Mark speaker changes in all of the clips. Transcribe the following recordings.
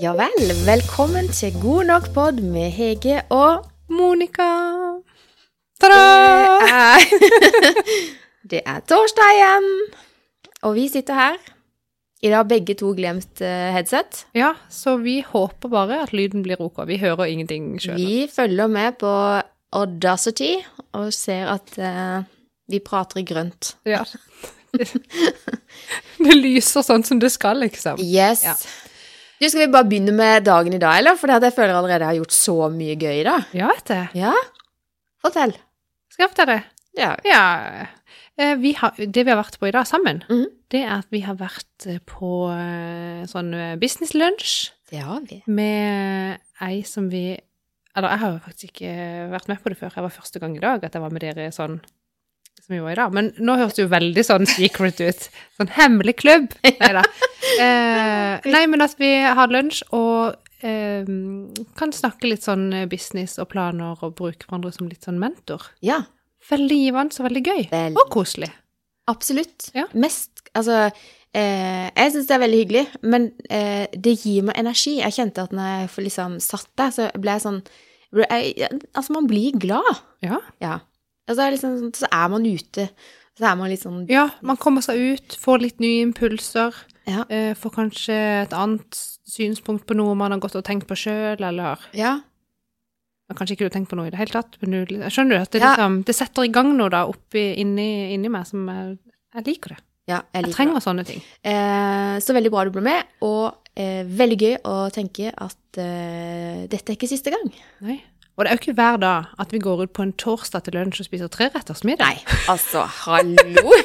Speaker 1: Ja vel, velkommen til God nok pod med Hege og
Speaker 2: Monica. Ta-da!
Speaker 1: Det er torsdag igjen, og vi sitter her. I dag har begge to glemt eh, headset.
Speaker 2: Ja, så vi håper bare at lyden blir ok. Vi hører ingenting sjøl.
Speaker 1: Vi følger med på Audacity og ser at eh, vi prater i grønt.
Speaker 2: Ja. Det lyser sånn som det skal, liksom.
Speaker 1: Yes.
Speaker 2: Ja.
Speaker 1: Du, skal vi bare begynne med dagen i dag, eller? For det at jeg føler jeg allerede har gjort så mye gøy i dag.
Speaker 2: Ja, vet du.
Speaker 1: Ja? Fortell.
Speaker 2: Skaff deg det.
Speaker 1: Ja.
Speaker 2: Ja. Eh, Vi har, det vi har vært på i dag sammen,
Speaker 1: Mhm.
Speaker 2: det er at vi har vært eh, på eh, sånn eh, business lunch
Speaker 1: Det har vi.
Speaker 2: med ei som vi Eller jeg har jo faktisk ikke vært med på det før. Jeg var første gang i dag at jeg var med dere sånn som vi var i dag. Men nå høres det jo veldig sånn secret ut. Sånn hemmelig klubb. Nei da. Eh, nei, men at vi har lunsj og eh, kan snakke litt sånn business og planer og bruke hverandre som litt sånn mentor.
Speaker 1: Ja,
Speaker 2: Veldig givende og veldig gøy.
Speaker 1: Veldig.
Speaker 2: Og koselig.
Speaker 1: Absolutt.
Speaker 2: Ja.
Speaker 1: Mest Altså, eh, jeg syns det er veldig hyggelig, men eh, det gir meg energi. Jeg kjente at når jeg får liksom satt der, så ble jeg sånn ble jeg, ja, Altså, man blir glad.
Speaker 2: Ja.
Speaker 1: Ja. Altså, det er liksom, sånn- så er man ute. Så er man litt sånn
Speaker 2: ja, man kommer seg ut, får litt nye impulser.
Speaker 1: Ja.
Speaker 2: Eh, får kanskje et annet synspunkt på noe man har gått og tenkt på sjøl, eller
Speaker 1: ja.
Speaker 2: men Kanskje ikke du har tenkt på noe i det hele tatt, men du, jeg skjønner du at det,
Speaker 1: Ja.
Speaker 2: liksom, det setter i gang noe da oppi, inni, inni meg som jeg, jeg liker det.
Speaker 1: ja jeg
Speaker 2: Jeg
Speaker 1: liker det.
Speaker 2: trenger sånne ting.
Speaker 1: Eh, så veldig bra du ble med, og eh, veldig gøy å tenke at eh, dette er ikke siste gang.
Speaker 2: Nei. Og det er jo ikke hver dag at vi går ut på en torsdag til lunsj og spiser treretters middag.
Speaker 1: Nei, altså, hallo!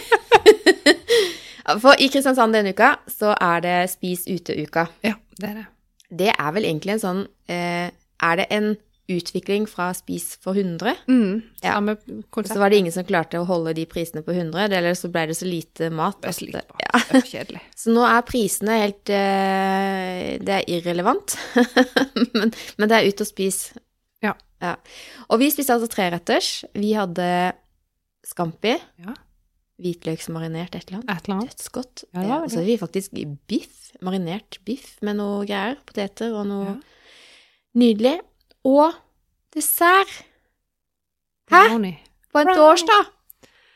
Speaker 1: For i Kristiansand denne uka så er det Spis ute-uka.
Speaker 2: Ja, det er det.
Speaker 1: Det er vel egentlig en sånn eh, Er det en utvikling fra Spis for 100?
Speaker 2: Mm,
Speaker 1: Ja.
Speaker 2: samme
Speaker 1: Så
Speaker 2: konsept.
Speaker 1: var det ingen som klarte å holde de prisene på 100, eller så ble det så lite mat.
Speaker 2: Det
Speaker 1: at-
Speaker 2: er slitt på.
Speaker 1: ja.
Speaker 2: Det er kjedelig.
Speaker 1: Så nå er prisene helt eh, Det er irrelevant. men, men det er ut og spis.
Speaker 2: Ja.
Speaker 1: Og vi spiste altså treretters. Vi hadde scampi,
Speaker 2: Ja.
Speaker 1: hvitløksmarinert et eller annet.
Speaker 2: Et eller annet.
Speaker 1: Dødsgodt.
Speaker 2: Ja, det
Speaker 1: Eh,
Speaker 2: var
Speaker 1: og så
Speaker 2: det.
Speaker 1: hadde vi faktisk biff, marinert biff med noe greier, poteter og noe
Speaker 2: Ja.
Speaker 1: nydelig. Og dessert Hæ?
Speaker 2: Brownie.
Speaker 1: på en
Speaker 2: Wow.
Speaker 1: torsdag!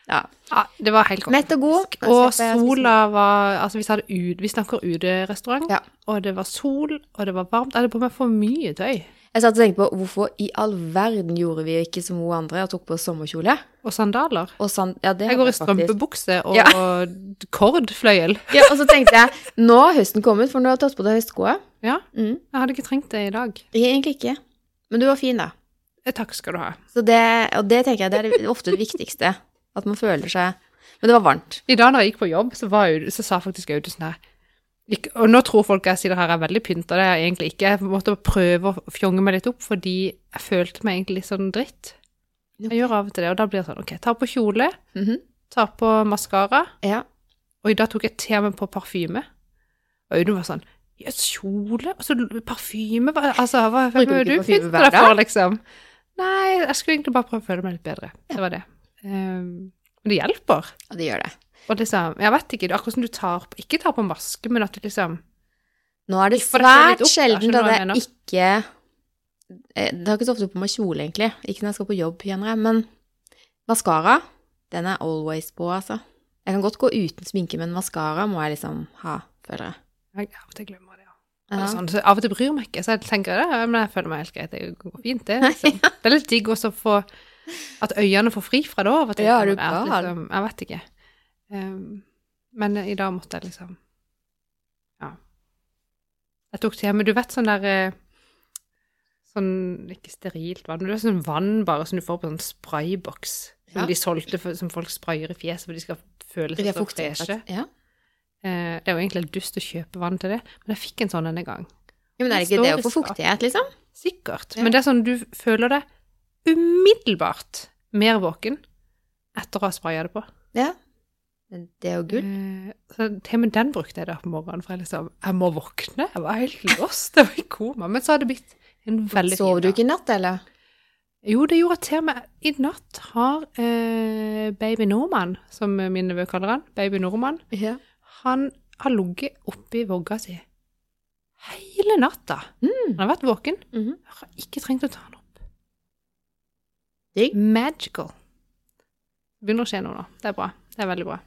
Speaker 1: Ja.
Speaker 2: Ja, det var helt konge.
Speaker 1: Mett og god.
Speaker 2: Og
Speaker 1: Da slipper jeg å spise
Speaker 2: sola var Altså, vi, sa det ut, vi snakker uterestaurant,
Speaker 1: Ja.
Speaker 2: og det var sol, og det var varmt. Jeg hadde på meg for mye tøy.
Speaker 1: noe. Jeg satt og tenkte på hvorfor i all verden gjorde vi ikke som hun andre og tok på oss sommerkjole?
Speaker 2: Og sandaler.
Speaker 1: Og sand, ja, det
Speaker 2: Jeg
Speaker 1: hadde
Speaker 2: går i
Speaker 1: faktisk.
Speaker 2: strømpebukse og,
Speaker 1: Ja.
Speaker 2: og kordfløyel.
Speaker 1: Ja, og så tenkte jeg nå har høsten kommet, for nå har du tatt på deg høstskoa.
Speaker 2: Ja,
Speaker 1: Mm.
Speaker 2: jeg hadde ikke trengt det i dag.
Speaker 1: Egentlig ikke. Men du var fin, da.
Speaker 2: Eh, Takk skal du ha.
Speaker 1: Så det, og det tenker jeg det er det- ofte det viktigste. At man føler seg Men det var varmt.
Speaker 2: I dag når jeg gikk på jobb, så, var Aud- så sa faktisk Audun sånn her «Ikk- Og nå tror folk jeg sitter her er veldig pynta, det er jeg egentlig ikke. Jeg måtte prøve å fjonge meg litt opp, fordi jeg følte meg egentlig litt sånn dritt. Jeg gjør av og til det, og da blir det sånn OK, ta på kjole,
Speaker 1: Mhm.
Speaker 2: ta på maskara,
Speaker 1: Ja.
Speaker 2: og i dag tok jeg til og med på parfyme. Og Audun var sånn Jøss, kjole? Altså, parfyme? Hva, altså, hva, hva
Speaker 1: Bruker du
Speaker 2: er
Speaker 1: ikke
Speaker 2: det du
Speaker 1: parfyme
Speaker 2: pynter
Speaker 1: hver
Speaker 2: deg for,
Speaker 1: dag?
Speaker 2: liksom? Nei, jeg skulle egentlig bare prøve å føle meg litt bedre. Det var det. Um, men det hjelper.
Speaker 1: Og det gjør det.
Speaker 2: Og liksom, jeg vet ikke, det er akkurat som du tar på, ikke tar på maske, men at du liksom
Speaker 1: Nå er det
Speaker 2: Får det føle litt
Speaker 1: svært
Speaker 2: opp, da, skjønner
Speaker 1: sjelden
Speaker 2: du
Speaker 1: at
Speaker 2: hva jeg
Speaker 1: jeg
Speaker 2: mener?
Speaker 1: ikke eh, Det har ikke så ofte på meg kjole, egentlig. Ikke når jeg skal på jobb, kjenner jeg. Men maskara, den er always på, altså. Jeg kan godt gå uten sminke, men maskara må jeg liksom ha, føler jeg.
Speaker 2: jeg, Av og til glemmer det, ja. Eller
Speaker 1: Ja.
Speaker 2: Sånn, så av og til bryr jeg meg ikke, så jeg tenker det, men jeg føler meg helt greit, det går fint, det. Liksom. Det er litt digg også å få At øynene får fri fra det av og til.
Speaker 1: Ja, er du
Speaker 2: men at
Speaker 1: gal?
Speaker 2: Liksom, jeg vet ikke. Um, men i dag måtte jeg liksom Ja. Jeg tok til hjemme Du vet sånn der eh, Sånn ikke sterilt vann, men det er sånn vann bare som du får på sånn sprayboks. Som
Speaker 1: Ja.
Speaker 2: de solgte, for, som folk sprayer i fjeset for de skal føle
Speaker 1: Det
Speaker 2: seg
Speaker 1: er
Speaker 2: så
Speaker 1: fuktig.
Speaker 2: freshe.
Speaker 1: Ja.
Speaker 2: Eh, Det er jo egentlig helt dust å kjøpe vann til det, men jeg fikk en sånn denne gang.
Speaker 1: ja, men er det ikke det å få fuktighet, liksom?
Speaker 2: Sikkert.
Speaker 1: Ja.
Speaker 2: Men det er sånn du føler deg umiddelbart mer våken etter å ha spraya det på.
Speaker 1: Ja. Men Det er jo gull.
Speaker 2: Eh, Så til og med den brukte jeg da på morgenen, for jeg liksom Jeg må våkne. Jeg var helt lost. Jeg var i koma. Men så har det blitt en Mm, veldig
Speaker 1: Sov du
Speaker 2: dag.
Speaker 1: ikke i natt, eller?
Speaker 2: Jo, det gjorde jeg til og med. I natt har eh, baby Nordmann, som min nevø kaller han, baby Nordmann,
Speaker 1: Ja.
Speaker 2: han har ligget oppi vogga si hele natta.
Speaker 1: Mm.
Speaker 2: Han har vært våken.
Speaker 1: Mhm.
Speaker 2: Jeg har ikke trengt å ta den opp.
Speaker 1: Digg.
Speaker 2: Magical. Begynner å skje noe nå. Det er bra. Det er veldig bra.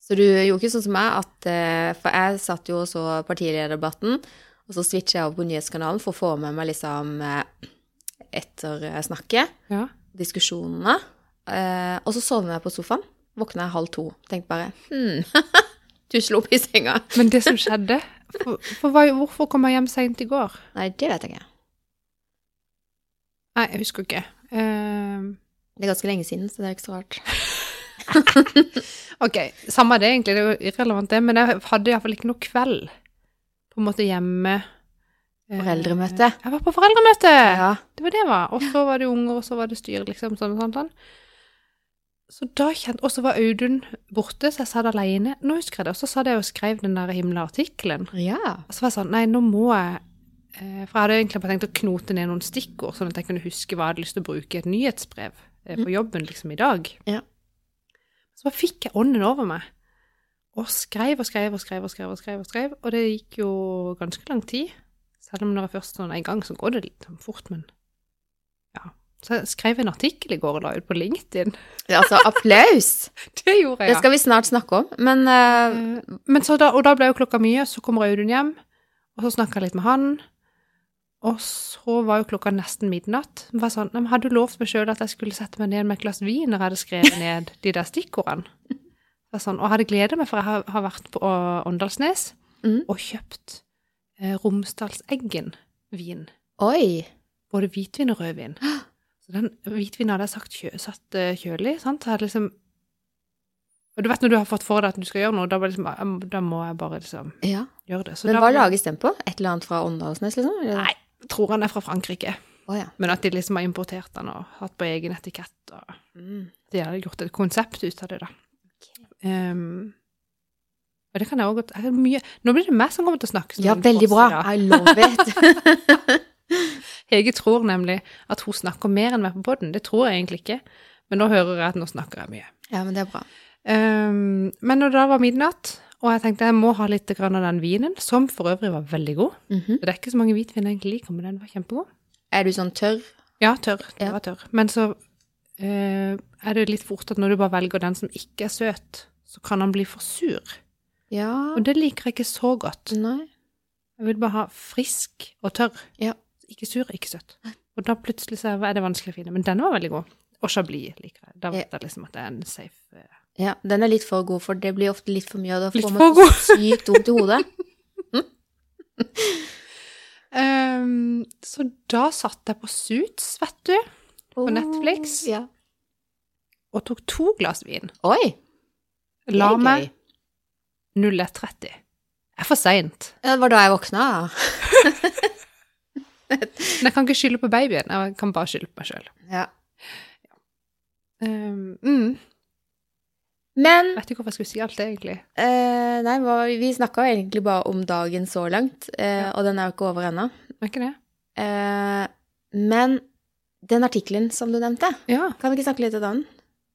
Speaker 1: Så du gjorde ikke sånn som meg, at, eh, for jeg satt jo og så partilederdebatten, og så switcha jeg over på nyhetskanalen for å få med meg liksom eh, etter eh, snakket,
Speaker 2: Ja.
Speaker 1: diskusjonene. Eh, Og så sovna jeg på sofaen. Våkna jeg halv to. Tenkte bare hm, tusle opp i senga.
Speaker 2: Men det som skjedde For, for hva, hvorfor kom jeg hjem seint i går?
Speaker 1: Nei, det vet jeg ikke.
Speaker 2: Nei, jeg husker ikke. Ehm,
Speaker 1: Det er ganske lenge siden, så det er ikke så rart.
Speaker 2: ok, samme det egentlig, det er jo irrelevant det, men jeg hadde iallfall ikke noe kveld på en måte hjemme. Eh,
Speaker 1: Foreldremøte.
Speaker 2: Jeg var på foreldremøte!
Speaker 1: Ja.
Speaker 2: Det var det jeg var. Og så var det unger, og så var det styr, liksom, sånn og sånn. sånn. Så da kjente, Og så var Audun borte, så jeg satt alene. Nå husker jeg det. Og så satt jeg og skrev den der himla artikkelen.
Speaker 1: ja.
Speaker 2: Og så var jeg sånn, nei, nå må jeg eh, For jeg hadde egentlig bare tenkt å knote ned noen stikkord, sånn at jeg kunne huske hva jeg hadde lyst til å bruke i et nyhetsbrev eh, på jobben liksom i dag.
Speaker 1: Mm. Ja.
Speaker 2: Så bare fikk jeg ånden over meg. Og skrev og skrev og skrev og skrev. Og skrev og skrev, og det gikk jo ganske lang tid. Selv om når jeg først sånn er i gang, så går det litt sånn fort, men ja. Så jeg skrev en artikkel i går og la ut på LinkedIn.
Speaker 1: Altså, applaus!
Speaker 2: Det gjorde jeg,
Speaker 1: Det
Speaker 2: ja.
Speaker 1: skal vi snart snakke om. Men eh,
Speaker 2: Eh, Men så da, og da ble jo klokka mye, så kommer Audun hjem, og så snakka jeg litt med han. Og så var jo klokka nesten midnatt. Jeg var sånn, «Nei, men hadde du lovt meg sjøl at jeg skulle sette meg ned med et glass vin når jeg hadde skrevet ned de der stikkordene? Jeg var sånn, og jeg hadde gleda meg, for jeg har, har vært på Å- Åndalsnes
Speaker 1: Mhm.
Speaker 2: og kjøpt eh, Romsdalseggen-vin.
Speaker 1: oi!
Speaker 2: Både hvitvin og rødvin. Så den hvitvinen hadde jeg sagt kjø, satt eh, kjølig, sant? Så jeg hadde liksom Og du vet når du har fått for deg at du skal gjøre noe, da, bare liksom, jeg må- da må jeg bare liksom
Speaker 1: Ja.
Speaker 2: gjøre det. Så
Speaker 1: Men
Speaker 2: da
Speaker 1: hva lages den på? Et eller annet fra Åndalsnes, liksom? Eller?
Speaker 2: Nei. tror han er fra Frankrike,
Speaker 1: Å ja.
Speaker 2: men at de liksom har importert den og hatt på egen etikett. og
Speaker 1: Mm.
Speaker 2: De har gjort et konsept ut av det, da. Ehm, og det kan jeg også godt jeg har mye, Nå blir det meg som kommer til å snakke. som
Speaker 1: Ja,
Speaker 2: en
Speaker 1: veldig
Speaker 2: boss
Speaker 1: bra.
Speaker 2: i dag.
Speaker 1: I love it.
Speaker 2: Hege tror nemlig at hun snakker mer enn meg på poden. Det tror jeg egentlig ikke, men nå hører jeg at nå snakker jeg mye.
Speaker 1: ja, men det er bra.
Speaker 2: Ehm, men når det da var midnatt, og jeg tenkte jeg må ha litt grann av den vinen, som for øvrig var veldig god
Speaker 1: Mhm.
Speaker 2: Det er ikke så mange hvitviner jeg egentlig liker, men den var kjempegod.
Speaker 1: Er du sånn tørr?
Speaker 2: Ja, tørr. Den
Speaker 1: Ja.
Speaker 2: var tørr. Men så eh, er det litt fort at når du bare velger den som ikke er søt, så kan den bli for sur.
Speaker 1: Ja.
Speaker 2: Og det liker jeg ikke så godt.
Speaker 1: sånn, Nei.
Speaker 2: Jeg vil bare ha frisk og tørr.
Speaker 1: Ja.
Speaker 2: Ikke sur, ikke søt. Og da plutselig så er det vanskelig å finne. Men den var veldig god. Og Chablis liker jeg. Da vet jeg liksom at det er en safe eh,
Speaker 1: Ja, den er litt for god, for det blir ofte litt for mye, og da
Speaker 2: Litt
Speaker 1: får
Speaker 2: for
Speaker 1: man
Speaker 2: god.
Speaker 1: så sykt vondt i hodet.
Speaker 2: Ehm, så da satt jeg på Suits, vet du,
Speaker 1: På
Speaker 2: Netflix?
Speaker 1: Oh, Ja.
Speaker 2: og tok to glass vin.
Speaker 1: Oi! det er
Speaker 2: La
Speaker 1: gøy.
Speaker 2: meg 01.30. Det er for seint.
Speaker 1: Ja, Det var da jeg våkna.
Speaker 2: Men jeg kan ikke skylde på babyen. Jeg kan bare skylde på meg sjøl.
Speaker 1: Ja.
Speaker 2: mm.
Speaker 1: Men
Speaker 2: Vet ikke hvorfor jeg skulle si alt det, egentlig.
Speaker 1: eh, Nei, hva- vi snakka egentlig bare om dagen så langt, eh, og den er jo ikke over ennå.
Speaker 2: Er ikke det?
Speaker 1: Eh, men den artikkelen som du nevnte,
Speaker 2: Ja.
Speaker 1: kan du ikke snakke litt om den?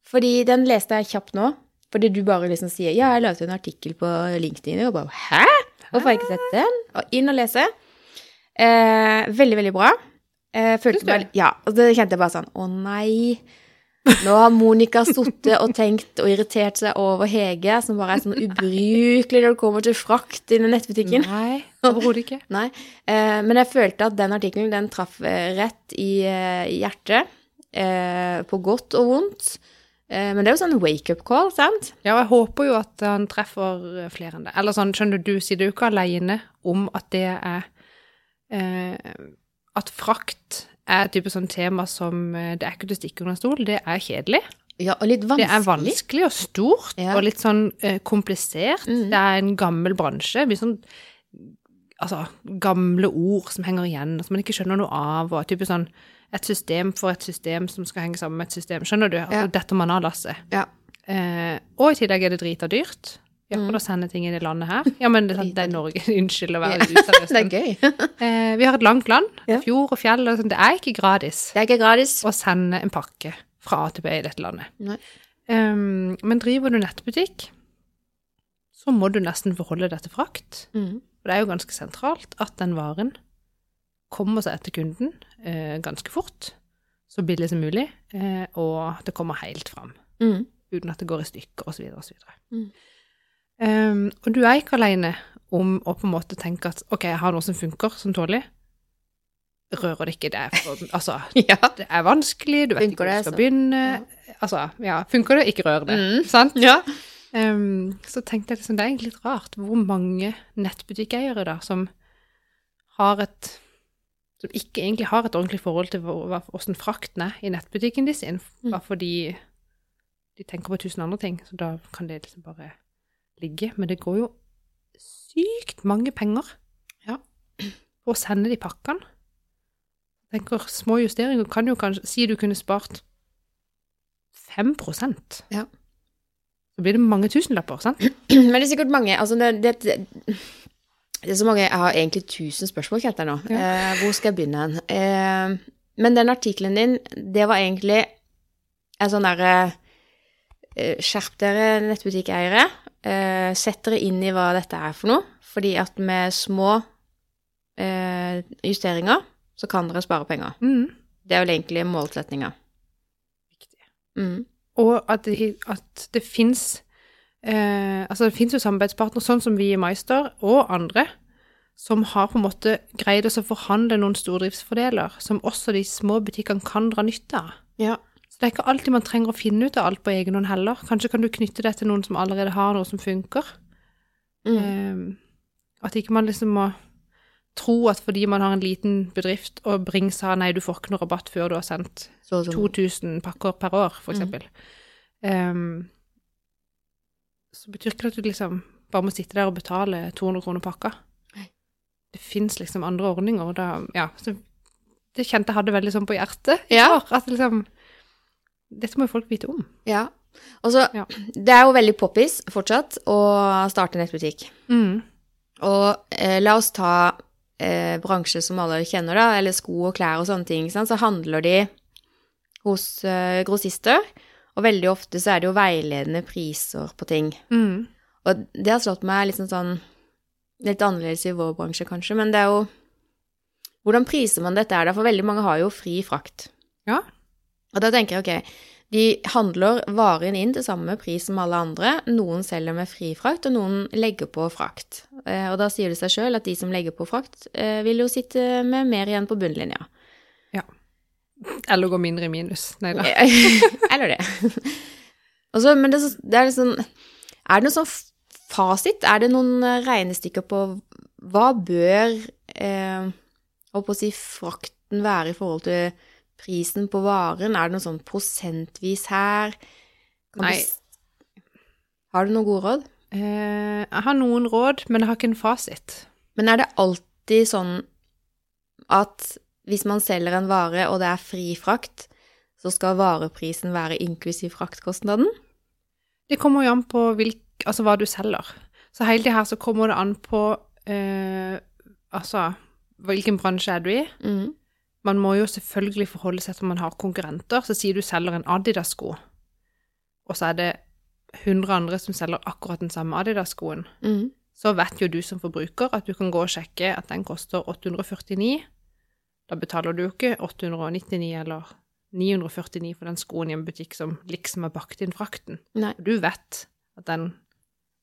Speaker 1: Fordi den leste jeg kjapt nå. Fordi du bare liksom sier 'ja, jeg la ut en artikkel på LinkedIn', og bare 'hæ? Hvorfor har jeg ikke
Speaker 2: Ah.
Speaker 1: sett den?' Og inn og lese. Eh, veldig, veldig bra. Eh,
Speaker 2: Syns
Speaker 1: følte
Speaker 2: du?
Speaker 1: meg Ja. Og det kjente jeg bare sånn 'å nei'. Nå har Monica sittet og tenkt og irritert seg over Hege, som bare er sånn ubrukelig når det kommer til frakt inn i nettbutikken.
Speaker 2: Nei, overhodet ikke.
Speaker 1: Nei. Eh, men jeg følte at den artikkelen den traff eh, rett i eh, i hjertet. Eh, på godt og vondt. Eh, men det er jo sånn wake-up call, sant?
Speaker 2: Ja, og jeg håper jo at han treffer flere enn det. Eller sånn, skjønner du, du sier du er jo ikke alene om at det er eh, At frakt er et type sånn tema som eh, Det er ikke til å stikke under en stol, det er kjedelig.
Speaker 1: Ja, og litt
Speaker 2: Det
Speaker 1: vanskelig.
Speaker 2: er vanskelig og stort
Speaker 1: Ja.
Speaker 2: og litt sånn eh, komplisert.
Speaker 1: Mhm.
Speaker 2: Det er en gammel bransje. Mye sånn altså, gamle ord som henger igjen, og som man ikke skjønner noe av. Og type sånn et system for et system som skal henge sammen med et system. Skjønner du? Altså,
Speaker 1: Ja.
Speaker 2: Dette man har lasset.
Speaker 1: Ja.
Speaker 2: Eh, og i tillegg er det drita dyrt. Ja,
Speaker 1: Mhm.
Speaker 2: for å sende ting i det landet her. Ja, men det, er sant, det er Norge. Unnskyld å
Speaker 1: Ja.
Speaker 2: være litt useriøs.
Speaker 1: Det er
Speaker 2: men,
Speaker 1: gøy.
Speaker 2: Eh, vi har et langt land.
Speaker 1: Ja.
Speaker 2: Fjord og fjell og sånn. Det er ikke gratis
Speaker 1: Det er ikke gratis.
Speaker 2: å sende en pakke fra A til B i dette landet.
Speaker 1: Nei.
Speaker 2: Ehm, men driver du nettbutikk, så må du nesten forholde deg til frakt.
Speaker 1: Mm.
Speaker 2: For det er jo ganske sentralt at den varen kommer seg etter kunden eh, ganske fort, så billig som mulig, eh, og at det kommer helt fram,
Speaker 1: Mm.
Speaker 2: uten at det går i stykker osv. osv.
Speaker 1: Mm.
Speaker 2: Um, og du er ikke alene om å på en måte tenke at ok, jeg har noe som funker, som tåler. Rører det ikke, det er, for, altså,
Speaker 1: Ja.
Speaker 2: det er vanskelig, du vet
Speaker 1: Funker
Speaker 2: ikke hvor
Speaker 1: det,
Speaker 2: du skal
Speaker 1: så-
Speaker 2: begynne. Altså, ja, funker det, ikke rør det.
Speaker 1: Mm.
Speaker 2: Sant?
Speaker 1: ja.
Speaker 2: Ehm, så tenkte jeg liksom, det er egentlig litt rart hvor mange nettbutikkeiere da, som har et som ikke egentlig har et ordentlig forhold til hvor- hva- hvordan frakten er i nettbutikken de sin,
Speaker 1: Mm.
Speaker 2: bare fordi de tenker på tusen andre ting, så da kan det liksom bare ligge. Men det går jo sykt mange penger
Speaker 1: Ja.
Speaker 2: på å sende de pakkene. Jeg tenker, små justeringer kan jo kanskje, si du kunne spart 5
Speaker 1: Ja.
Speaker 2: så blir det mange tusenlapper, sant?
Speaker 1: Men det er sikkert mange altså det, det, det, det er så mange Jeg har egentlig tusen spørsmål, kjente jeg nå. Eh, hvor skal jeg begynne hen? Eh, men den artikkelen din, det var egentlig en sånn derre eh, Skjerp dere, nettbutikkeiere. Eh, sett dere inn i hva dette er for noe. Fordi at med små eh, justeringer så kan dere spare penger.
Speaker 2: Mm.
Speaker 1: Det er vel egentlig målsettinga. Mm.
Speaker 2: Og at det, at det fins eh, Altså, det fins jo samarbeidspartnere, sånn som vi i Meister, og andre, som har på en måte greid oss å forhandle noen stordriftsfordeler, som også de små butikkene kan dra nytte av.
Speaker 1: Ja.
Speaker 2: Så det er ikke alltid man trenger å finne ut av alt på egen hånd heller. Kanskje kan du knytte det til noen som allerede har noe som funker.
Speaker 1: Mm.
Speaker 2: Eh, At ikke man liksom må tro at fordi man har en liten bedrift og Bring sa nei, du får ikke noe rabatt før du har sendt
Speaker 1: Så, så.
Speaker 2: 2000 pakker per år,
Speaker 1: Mhm.
Speaker 2: for eksempel. Ehm, så betyr ikke det at du liksom bare må sitte der og betale 200 kroner pakka.
Speaker 1: Nei.
Speaker 2: Det fins liksom andre ordninger, og da Ja. Så det kjente jeg hadde veldig sånn på hjertet. i
Speaker 1: Ja.
Speaker 2: går, At liksom Dette må jo folk vite om.
Speaker 1: Ja. Og så,
Speaker 2: Ja.
Speaker 1: Det er jo veldig poppis fortsatt å starte nettbutikk. Og eh, la oss ta eh, bransje som alle kjenner, da, eller sko og klær og sånne ting. ikke Sant? Så handler de hos eh, grossister, og veldig ofte så er det jo veiledende priser på ting.
Speaker 2: Mm.
Speaker 1: Og det har slått meg litt sånn sånn Litt annerledes i vår bransje, kanskje, men det er jo Hvordan priser man dette her, da? For veldig mange har jo fri frakt.
Speaker 2: Ja.
Speaker 1: Og da tenker jeg, ok, de handler varen inn til samme pris som alle andre. Noen selger med fri frakt, og noen legger på frakt. Eh, Og da sier det seg sjøl at de som legger på frakt, eh, vil jo sitte med mer igjen på bunnlinja.
Speaker 2: Eller gå mindre i minus. Nei da.
Speaker 1: Eller det. Og så, men det, er så- det er litt sånn Er det noen sånn f- fasit? Er det noen eh, regnestykker på hva bør eh, holdt på å si frakten være i forhold til prisen på varen? Er det noe sånn prosentvis her? Kan du
Speaker 2: Nei.
Speaker 1: s- Har du noen gode råd?
Speaker 2: Eh, jeg har noen råd, men jeg har ikke en fasit.
Speaker 1: Men er det alltid sånn at hvis man selger en vare, og det er fri frakt, så skal vareprisen være inklusiv fraktkostnaden?
Speaker 2: Det kommer jo an på hvilk, altså hva du selger. Så hele det her så kommer det an på eh, altså, hvilken bransje er du i.
Speaker 1: Mm.
Speaker 2: Man må jo selvfølgelig forholde seg til om man har konkurrenter. Så sier du selger en Adidas-sko, og så er det 100 andre som selger akkurat den samme Adidas-skoen.
Speaker 1: Mm.
Speaker 2: Så vet jo du som forbruker at du kan gå og sjekke at den koster 849. Da betaler du jo ikke 899 eller 949 for den skoen i en butikk som liksom har bakt inn frakten.
Speaker 1: Nei.
Speaker 2: Og Du vet at den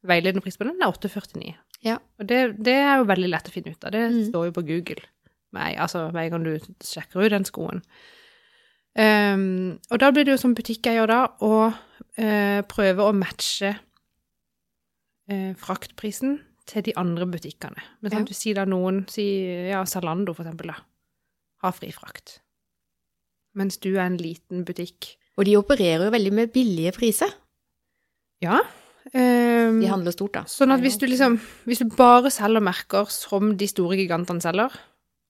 Speaker 2: veiledende prisen på den er 8,49.
Speaker 1: Ja.
Speaker 2: Og det, det er jo veldig lett å finne ut av. Det
Speaker 1: Mm.
Speaker 2: står jo på Google med, altså, hver gang du sjekker ut den skoen. Ehm, og da blir det jo som butikkeier da å eh, prøve å matche eh, fraktprisen til de andre butikkene. Men sånn,
Speaker 1: Ja.
Speaker 2: at du sier da noen, si, ja, Zalando for eksempel da, har fri frakt. Mens du er en liten butikk.
Speaker 1: Og de opererer jo veldig med billige priser.
Speaker 2: Ja. ehm,
Speaker 1: De handler stort, da.
Speaker 2: Sånn at hvis du liksom Hvis du bare selger merker som de store gigantene selger,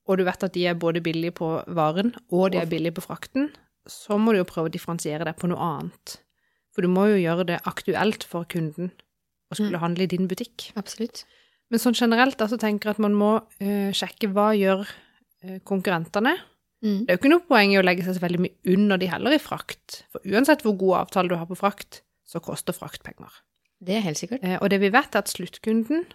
Speaker 2: og du vet at de er både billige på varen og de er billige på frakten, så må du jo prøve å differensiere deg på noe annet. For du må jo gjøre det aktuelt for kunden å skulle handle i din butikk.
Speaker 1: Absolutt.
Speaker 2: Men sånn generelt da, så tenker jeg at man må eh, sjekke hva gjør eh, konkurrentene.
Speaker 1: Mm.
Speaker 2: Det er jo ikke noe poeng i å legge seg så veldig mye under de heller i frakt. For uansett hvor god avtale du har på frakt, så koster frakt penger.
Speaker 1: Det er helt sikkert.
Speaker 2: Eh, Og det vi vet, er at sluttkunden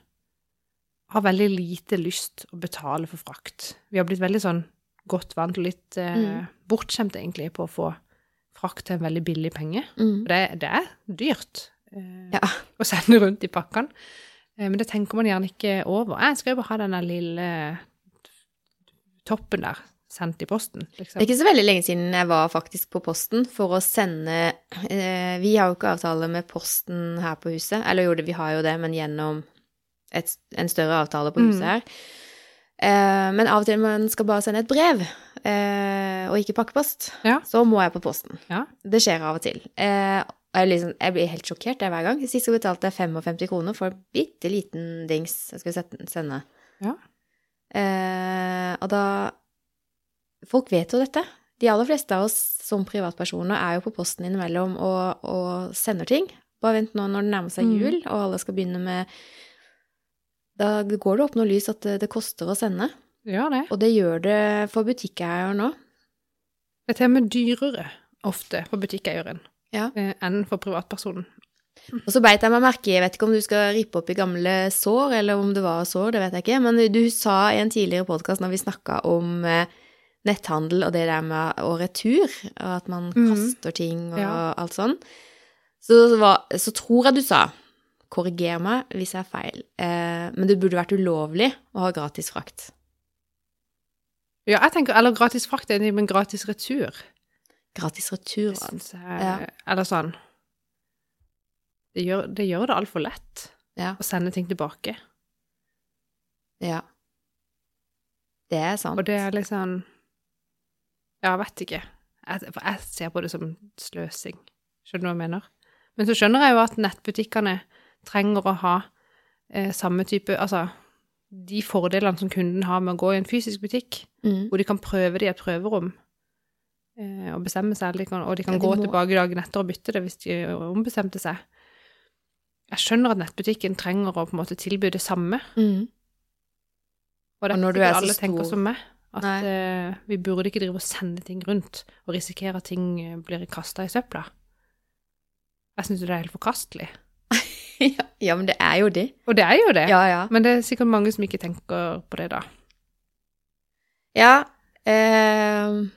Speaker 2: har veldig lite lyst å betale for frakt. Vi har blitt veldig sånn godt vant og litt eh,
Speaker 1: Mm.
Speaker 2: bortskjemt egentlig på å få frakt til en veldig billig penge.
Speaker 1: Mm.
Speaker 2: Og det, det er dyrt eh,
Speaker 1: Ja.
Speaker 2: å sende rundt i pakkene. Eh, men det tenker man gjerne ikke over. Jeg skal jo bare ha den der lille toppen der sendt i posten,
Speaker 1: Det er
Speaker 2: liksom.
Speaker 1: ikke så veldig lenge siden jeg var faktisk på Posten for å sende eh, Vi har jo ikke avtale med Posten her på huset. Eller jo, det- vi har jo det, men gjennom et, en større avtale på huset
Speaker 2: Mm.
Speaker 1: her. Eh, men av og til man skal bare sende et brev, eh, og ikke pakkepost,
Speaker 2: Ja.
Speaker 1: så må jeg på Posten.
Speaker 2: Ja.
Speaker 1: Det skjer av og til. Eh, og jeg, liksom, jeg blir helt sjokkert jeg, hver gang. Sist jeg betalte jeg 55 kroner for en bitte liten dings jeg skulle sette- sende.
Speaker 2: Ja.
Speaker 1: Eh, og da Folk vet jo dette. De aller fleste av oss som privatpersoner er jo på posten innimellom og, og sender ting. Bare vent nå når det nærmer seg
Speaker 2: Mm.
Speaker 1: jul, og alle skal begynne med Da går det opp noe lys at det, det koster å sende.
Speaker 2: Ja, det.
Speaker 1: Og det gjør det for butikkeier nå.
Speaker 2: Det er til og med dyrere ofte for butikkeieren
Speaker 1: Ja.
Speaker 2: eh, enn for privatpersonen.
Speaker 1: Og så beit jeg meg merke i, jeg vet ikke om du skal rippe opp i gamle sår, eller om det var sår, det vet jeg ikke, men du sa i en tidligere podkast når vi snakka om eh, netthandel og det der med å retur, og at man
Speaker 2: Mhm.
Speaker 1: kaster ting og
Speaker 2: Ja.
Speaker 1: alt sånn, så, var, så tror jeg du sa Korriger meg hvis jeg er feil, eh, men det burde vært ulovlig å ha gratis frakt.
Speaker 2: Ja, jeg tenker, eller gratis frakt er enig, men gratis retur.
Speaker 1: Gratis retur.
Speaker 2: Det
Speaker 1: altså.
Speaker 2: synes jeg,
Speaker 1: Ja.
Speaker 2: Eller sånn Det gjør det, gjør det altfor lett
Speaker 1: Ja.
Speaker 2: å sende ting tilbake.
Speaker 1: Ja. Det er sant.
Speaker 2: Og det er liksom Ja, jeg vet ikke. Jeg, for jeg ser på det som sløsing. Skjønner du hva jeg mener? Men så skjønner jeg jo at nettbutikkene trenger å ha eh, samme type Altså de fordelene som kunden har med å gå i en fysisk butikk,
Speaker 1: Mm.
Speaker 2: hvor de kan prøve det i et prøverom. eh, Og bestemme seg, eller de kan, og de kan
Speaker 1: Ja, de
Speaker 2: gå
Speaker 1: må-
Speaker 2: tilbake dagen etter og bytte det hvis de ombestemte seg. Jeg skjønner at nettbutikken trenger å på en måte tilby det samme.
Speaker 1: Mm.
Speaker 2: Og
Speaker 1: Og
Speaker 2: det er
Speaker 1: når
Speaker 2: ikke
Speaker 1: du er
Speaker 2: sikkert
Speaker 1: så
Speaker 2: alle tenker
Speaker 1: stor-
Speaker 2: som meg, at
Speaker 1: Nei.
Speaker 2: eh, vi burde ikke drive og sende ting rundt og risikere at ting eh, blir kasta i søpla. Jeg syns jo det er helt forkastelig.
Speaker 1: ja, ja, men det er jo det.
Speaker 2: Og det er jo det,
Speaker 1: Ja, ja.
Speaker 2: men det er sikkert mange som ikke tenker på det da.
Speaker 1: Ja. Eh,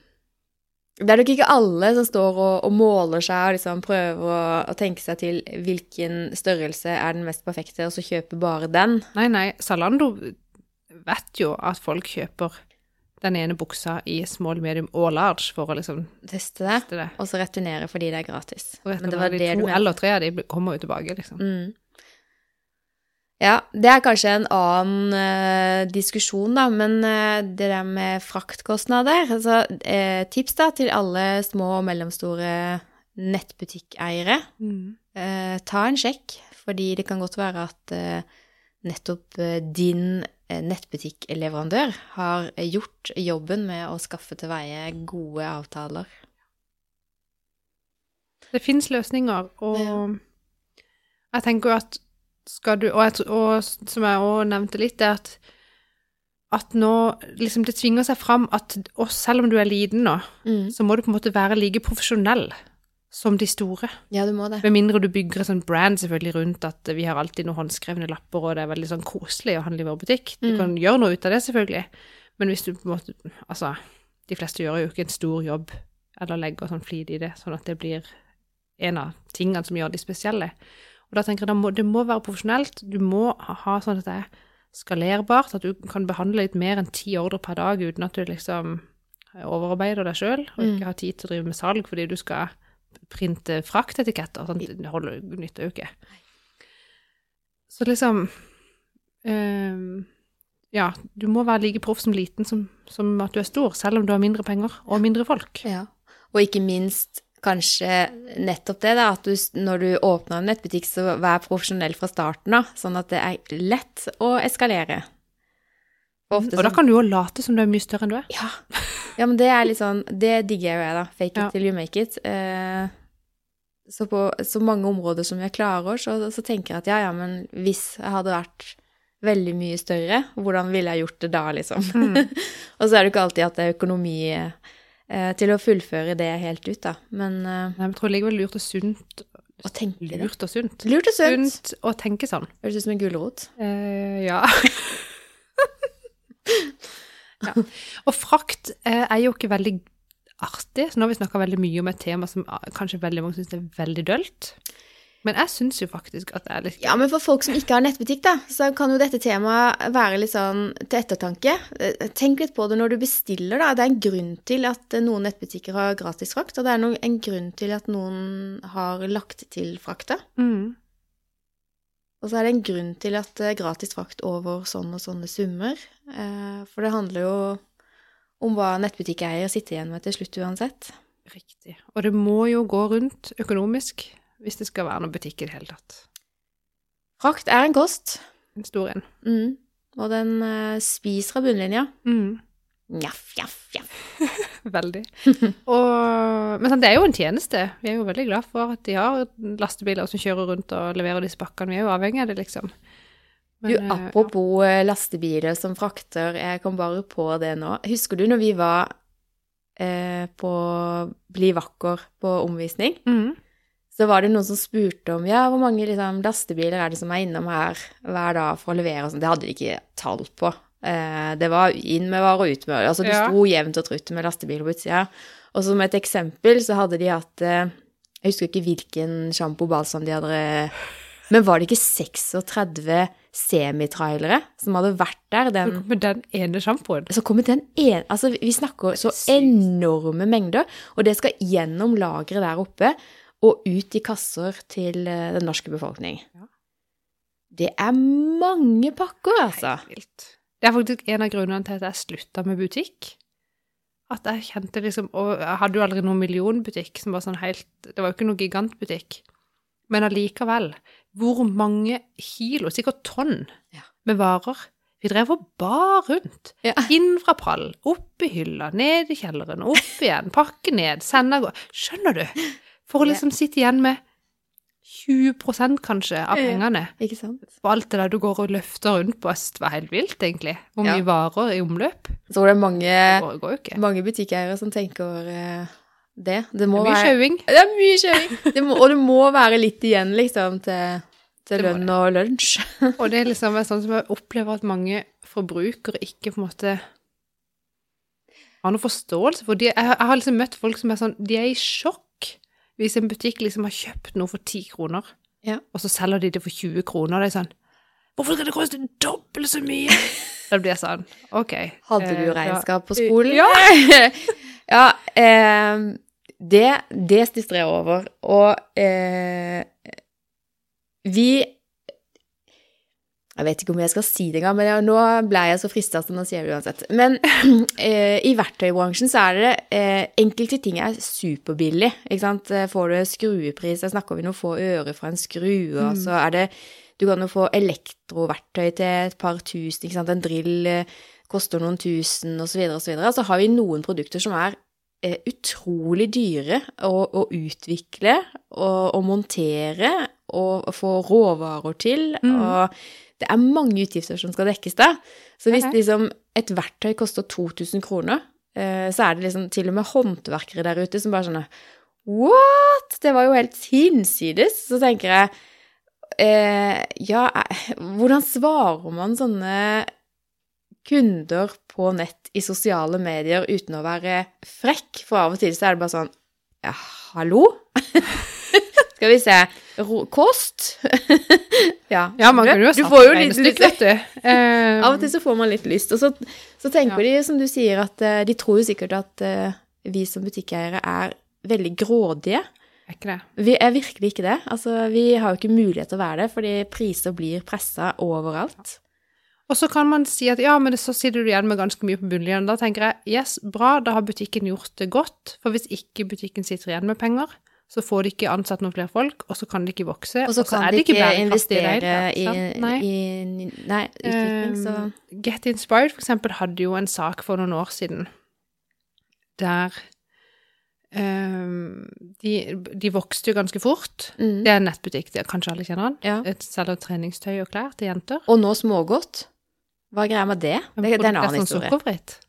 Speaker 1: det er nok ikke alle som står og, og måler seg og liksom prøver å, å tenke seg til hvilken størrelse er den mest perfekte, og så kjøpe bare den.
Speaker 2: Nei, nei, Zalando vet jo at folk kjøper den ene buksa i small, medium og large for å liksom
Speaker 1: Teste det,
Speaker 2: teste det.
Speaker 1: og så returnere fordi det er gratis.
Speaker 2: Og etter
Speaker 1: Men det var
Speaker 2: de
Speaker 1: det du
Speaker 2: to
Speaker 1: mente.
Speaker 2: eller tre av de bl- kommer jo tilbake, liksom.
Speaker 1: Mm. Ja, det er kanskje en annen eh, diskusjon, da, men eh, det der med fraktkostnader altså, eh, Tips da til alle små og mellomstore nettbutikkeiere.
Speaker 2: Mm.
Speaker 1: Eh, ta en sjekk, fordi det kan godt være at eh, nettopp eh, din eh, nettbutikkleverandør har eh, gjort jobben med å skaffe til veie gode avtaler.
Speaker 2: Det finnes løsninger, og
Speaker 1: Ja.
Speaker 2: jeg tenker jo at skal du Og, jeg, tr- og s- som jeg òg nevnte litt, det er at at nå liksom det tvinger seg fram at og selv om du er liten nå,
Speaker 1: Mm.
Speaker 2: så må du på en måte være like profesjonell som de store.
Speaker 1: Ja, du må det.
Speaker 2: Med mindre du bygger et sånt brand selvfølgelig rundt at vi har alltid noen håndskrevne lapper, og det er veldig sånn koselig å handle i vår butikk. Du
Speaker 1: Mm.
Speaker 2: kan gjøre noe ut av det, selvfølgelig. Men hvis du på en måte Altså, de fleste gjør jo ikke en stor jobb eller legger sånn flid i det, sånn at det blir en av tingene som gjør de spesielle. Og da tenker jeg, da må, Det må være profesjonelt. Du må ha, ha sånn at det er skalerbart, at du kan behandle litt mer enn ti ordre per dag uten at du liksom overarbeider deg sjøl, og
Speaker 1: Mm.
Speaker 2: ikke har tid til å drive med salg fordi du skal printe fraktetiketter. Sånn, det holder, nytter jo ikke. Så liksom eh, Ja, du må være like proff som liten som, som at du er stor, selv om du har mindre penger og mindre folk.
Speaker 1: Ja. Og ikke minst kanskje nettopp det, da, at du, s- når du åpner en nettbutikk, så vær profesjonell fra starten av, sånn at det er lett å eskalere. Ofte
Speaker 2: Og da
Speaker 1: så-
Speaker 2: kan du jo late som du er mye større enn du er.
Speaker 1: ja. ja, men det er litt sånn Det digger jeg jo, jeg, da. Fake it
Speaker 2: Ja.
Speaker 1: till you make it. Eh, så på så mange områder som jeg klarer, så, så tenker jeg at ja, ja, men hvis jeg hadde vært veldig mye større, hvordan ville jeg gjort det da, liksom?
Speaker 2: Mm.
Speaker 1: Og så er det ikke alltid at det er økonomi eh, til å fullføre det helt ut, da. Men eh,
Speaker 2: Nei, men jeg tror det ligger vel lurt og sunt.
Speaker 1: å tenke det.
Speaker 2: Lurt og sunt.
Speaker 1: Lurt og sunt.
Speaker 2: Sunt å tenke sånn.
Speaker 1: Høres ut som en gulrot.
Speaker 2: Eh, ja. Og frakt eh, er jo ikke veldig artig, så nå har vi snakka veldig mye om et tema som ah, kanskje veldig mange syns er veldig dølt. Men jeg syns jo faktisk at det er litt
Speaker 1: Ja, men for folk som ikke har nettbutikk, da, så kan jo dette temaet være litt sånn til ettertanke. Eh, Tenk litt på det når du bestiller, da. Det er en grunn til at eh, noen nettbutikker har gratis frakt, og det er no- en grunn til at noen har lagt til frakta.
Speaker 2: mm.
Speaker 1: Og så er det en grunn til at det er gratis frakt over sånn og sånne summer. Eh, For det handler jo om hva nettbutikkeier sitter igjen med til slutt uansett.
Speaker 2: Riktig. Og det må jo gå rundt økonomisk hvis det skal være noen butikk i det hele tatt.
Speaker 1: Frakt er en kost,
Speaker 2: En stor en.
Speaker 1: mm. og den eh, spiser av bunnlinja.
Speaker 2: Mm.
Speaker 1: Njaff, njaff, njaff.
Speaker 2: Veldig. Og, men sånn, det er jo en tjeneste. Vi er jo veldig glad for at de har lastebiler som kjører rundt og leverer disse pakkene. Vi er jo avhengig av det, liksom. Men,
Speaker 1: Du,
Speaker 2: eh,
Speaker 1: apropos eh, lastebiler som frakter, jeg kom bare på det nå. Husker du når vi var eh, på Bli vakker på omvisning?
Speaker 2: ja. Mm.
Speaker 1: Så var det noen som spurte om ja, hvor mange liksom, lastebiler er det som er innom her hver dag for å levere og sånn. Det hadde de ikke tall på. Eh, det var inn med varer og ut med Altså det
Speaker 2: Ja.
Speaker 1: sto jevnt og trutt med lastebiler på utsida. Og som et eksempel så hadde de hatt eh, Jeg husker ikke hvilken sjampo og balsam de hadde Men var det ikke 36 semitrailere som hadde vært der den
Speaker 2: Med den ene sjampoen.
Speaker 1: så kommer den en, altså Vi snakker så enorme mengder, og det skal gjennom lageret der oppe og ut i kasser til eh, den norske befolkning.
Speaker 2: Ja.
Speaker 1: Det er mange pakker, altså.
Speaker 2: Helt vilt. Det er faktisk en av grunnene til at jeg slutta med butikk. At jeg kjente liksom Og jeg hadde jo aldri noen millionbutikk som var sånn helt Det var jo ikke noen gigantbutikk. Men allikevel, hvor mange kilo, sikkert tonn,
Speaker 1: Ja.
Speaker 2: med varer Vi drev og bar rundt.
Speaker 1: Ja.
Speaker 2: Inn fra prall, opp i hylla, ned i kjelleren, opp igjen, pakke ned, sende av gårde. Skjønner du? For å
Speaker 1: Ja.
Speaker 2: liksom sitte igjen med 20 kanskje av
Speaker 1: Ja.
Speaker 2: pengene.
Speaker 1: Ikke sant?
Speaker 2: Og alt det der du går og løfter rundt på øst, var helt vilt, egentlig. Hvor
Speaker 1: Ja. Eh,
Speaker 2: mye varer i omløp.
Speaker 1: Jeg tror det er mange,
Speaker 2: Det går, går jo ikke.
Speaker 1: mange butikkeiere som tenker eh, det. Det
Speaker 2: Det
Speaker 1: må
Speaker 2: er mye
Speaker 1: være
Speaker 2: sjauing.
Speaker 1: Det er mye kjøring! Det må, og det må være litt igjen, liksom, til, til
Speaker 2: Det må
Speaker 1: lønn og lunsj.
Speaker 2: Og det er liksom sånn som jeg opplever at mange forbrukere ikke på en måte har noen forståelse for. De, jeg, har- jeg har liksom møtt folk som er sånn De er i sjokk hvis en butikk liksom har kjøpt noe for 10 kroner,
Speaker 1: Ja.
Speaker 2: og så selger de det for 20 kroner. Og det er sånn Hvorfor skal det koste dobbelt så mye? da blir jeg sånn OK.
Speaker 1: Hadde
Speaker 2: eh,
Speaker 1: du
Speaker 2: da-
Speaker 1: regnskap på skolen?
Speaker 2: Ja.
Speaker 1: ja eh, det, det stusser jeg over. Og eh, vi Jeg vet ikke om jeg skal si det engang, men jeg, nå ble jeg så frista, så nå sier jeg det uansett. Men eh, i verktøybransjen så er det eh, Enkelte ting er superbillig. Ikke sant? Eh, Får du skruepris, der snakker vi om å få øre fra en skrue, og
Speaker 2: Mm.
Speaker 1: så er det Du kan jo få elektroverktøy til et par tusen, ikke sant. En drill eh, koster noen tusen, osv., osv. Så Altså, har vi noen produkter som er eh, utrolig dyre å, å utvikle og å montere og få råvarer til.
Speaker 2: Mm.
Speaker 1: Og det er mange utgifter som skal dekkes da. Så hvis
Speaker 2: Ok.
Speaker 1: liksom et verktøy koster 2000 kroner, eh, så er det liksom til og med håndverkere der ute som bare sånn What?! Det var jo helt hinsides! Så tenker jeg eh, Ja, eh, hvordan svarer man sånne kunder på nett i sosiale medier uten å være frekk, for av og til så er det bare sånn Ja, hallo? Skal vi se Ro Kost? ja.
Speaker 2: Ja, man kan jo ha
Speaker 1: du
Speaker 2: satt
Speaker 1: får jo litt,
Speaker 2: regnestykke,
Speaker 1: litt
Speaker 2: vet du. Eh,
Speaker 1: Av og til så får man litt lyst, og så, så tenker de, som du sier, at eh, de tror jo sikkert at eh, vi som butikkeiere er veldig grådige.
Speaker 2: Eh, er ikke det.
Speaker 1: Vi er virkelig ikke det. Altså, vi har jo ikke mulighet til å være det, fordi priser blir pressa overalt.
Speaker 2: Og så kan man si at ja, men det- så sitter du igjen med ganske mye på bunnlinjen. Da tenker jeg yes, bra, da har butikken gjort det godt. For hvis ikke butikken sitter igjen med penger, så får de ikke ansatt noen flere folk, og så kan de ikke vokse.
Speaker 1: Og så kan
Speaker 2: er
Speaker 1: de
Speaker 2: det
Speaker 1: ikke
Speaker 2: bærekraftig i det
Speaker 1: investere
Speaker 2: hele tatt,
Speaker 1: i,
Speaker 2: sant? Nei.
Speaker 1: i, nei, utvikling, så
Speaker 2: Um, Get Inspired, for eksempel, hadde jo en sak for noen år siden der um, de, de vokste jo ganske fort.
Speaker 1: mm.
Speaker 2: Det er en nettbutikk, det er kanskje alle kjenner den.
Speaker 1: ja.
Speaker 2: Et Selger treningstøy og klær til jenter.
Speaker 1: Og nå smågodt. Hva er greia med det? Det, det er en
Speaker 2: Produkter
Speaker 1: annen
Speaker 2: som
Speaker 1: historie.
Speaker 2: sånn Sukkerfritt.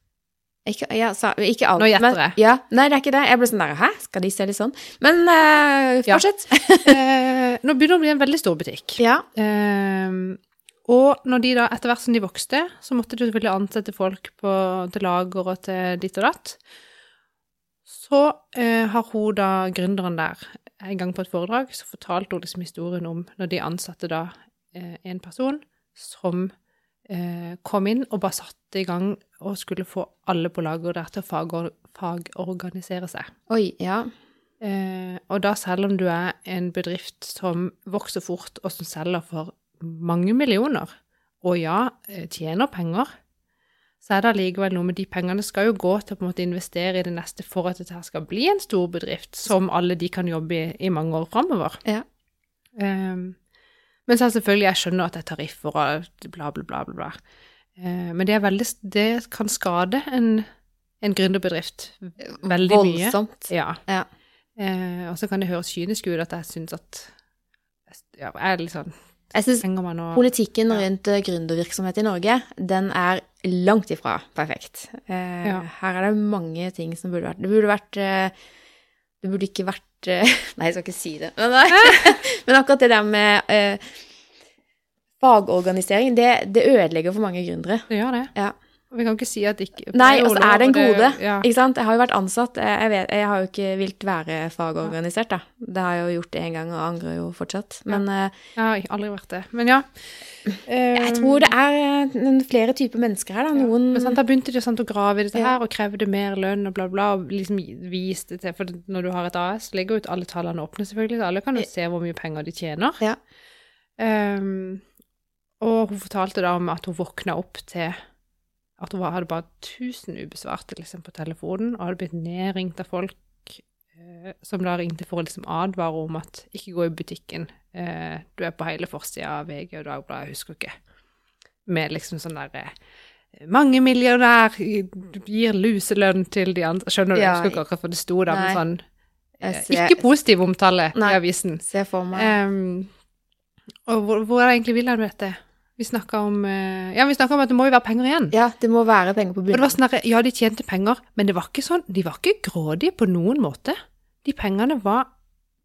Speaker 1: Ikke, ja, sa, ikke alt,
Speaker 2: Nå gjetter
Speaker 1: men-
Speaker 2: jeg.
Speaker 1: Ja, nei, det er ikke det. Jeg ble sånn der, hæ? Skal de se det sånn? Men eh,
Speaker 2: Ja.
Speaker 1: fortsett.
Speaker 2: eh, nå begynner det å bli en veldig stor butikk.
Speaker 1: Ja.
Speaker 2: Eh, Og når de da, etter hvert som de vokste, så måtte de selvfølgelig ansette folk på, til lager og til ditt og datt. Så eh, har hun da, gründeren der, en gang på et foredrag, så fortalte hun liksom historien om når de ansatte da eh, en person som eh, kom inn og bare satte i gang og skulle få alle på lager der til å fagor fagorganisere seg.
Speaker 1: Oi, ja.
Speaker 2: Eh, og da selv om du er en bedrift som vokser fort, og som selger for mange millioner, og ja, eh, tjener penger, så er det allikevel noe med de pengene skal jo gå til å på en måte investere i det neste for at dette her skal bli en stor bedrift som alle de kan jobbe i i mange år framover.
Speaker 1: Ja.
Speaker 2: men så er selvfølgelig, jeg skjønner at det er tariffer og bla, bla, bla, bla. bla. Eh, men det, er veldig, det kan skade en, en gründerbedrift veldig mye.
Speaker 1: Eh, Voldsomt.
Speaker 2: Ja.
Speaker 1: Ja.
Speaker 2: Eh, og så kan det høres kynisk ut at jeg syns at ja, jeg er litt sånn
Speaker 1: Jeg synes
Speaker 2: Trenger man å
Speaker 1: Politikken
Speaker 2: Ja.
Speaker 1: rundt eh, gründervirksomhet i Norge, den er langt ifra perfekt. Eh,
Speaker 2: Ja.
Speaker 1: Her er det mange ting som burde vært Det burde vært eh, Det burde ikke vært eh, Nei, jeg skal ikke si det. Men, nei. Men akkurat det der med eh, fagorganisering, det, det ødelegger for mange gründere.
Speaker 2: Det gjør det.
Speaker 1: Ja.
Speaker 2: Vi kan ikke si at det ikke
Speaker 1: Nei, og så er det en
Speaker 2: og
Speaker 1: gode.
Speaker 2: ja.
Speaker 1: Ikke sant? Jeg har jo vært ansatt. eh, Jeg, jeg, vet, jeg har jo ikke vilt være fagorganisert, da. Det har jeg jo gjort én gang og angrer jo fortsatt. Men eh,
Speaker 2: Jeg har ikke- aldri vært det. Men ja.
Speaker 1: jeg tror det er eh, flere typer mennesker her, da. Noen
Speaker 2: men sant, Da begynte de sant, å grave i dette
Speaker 1: Mm. Ja.
Speaker 2: her og krevde mer lønn og bla, bla. Og liksom viste til For når du har et AS, ligger jo ut alle tallene åpne, selvfølgelig. Så alle kan jo se hvor mye penger de tjener.
Speaker 1: Ja.
Speaker 2: Ehm, og hun fortalte da om at hun våkna opp til at hun hadde bare 1000 ubesvarte liksom, på telefonen, og hadde blitt nedringt av folk eh, som da ringte for å liksom advare om at ikke gå i butikken, eh, du er på hele forsida av VG og Dagbladet, jeg husker ikke, med liksom sånn derre mange millionær gir luselønn til de andre Skjønner du?
Speaker 1: Ja,
Speaker 2: jeg husker ikke akkurat hva det sto da,
Speaker 1: nei.
Speaker 2: men sånn eh,
Speaker 1: Jeg ser-
Speaker 2: Ikke positiv omtale
Speaker 1: Nei.
Speaker 2: i avisen.
Speaker 1: Se for meg.
Speaker 2: Ehm, og hvor, hvor er det egentlig vil han med dette? Vi snakka om, eh, ja, vi snakket om at det må jo være penger igjen.
Speaker 1: Ja, det må være penger på
Speaker 2: Og det
Speaker 1: bunnen.
Speaker 2: var sånn der, Ja, de tjente penger, men det var ikke sånn, de var ikke grådige på noen måte. De pengene var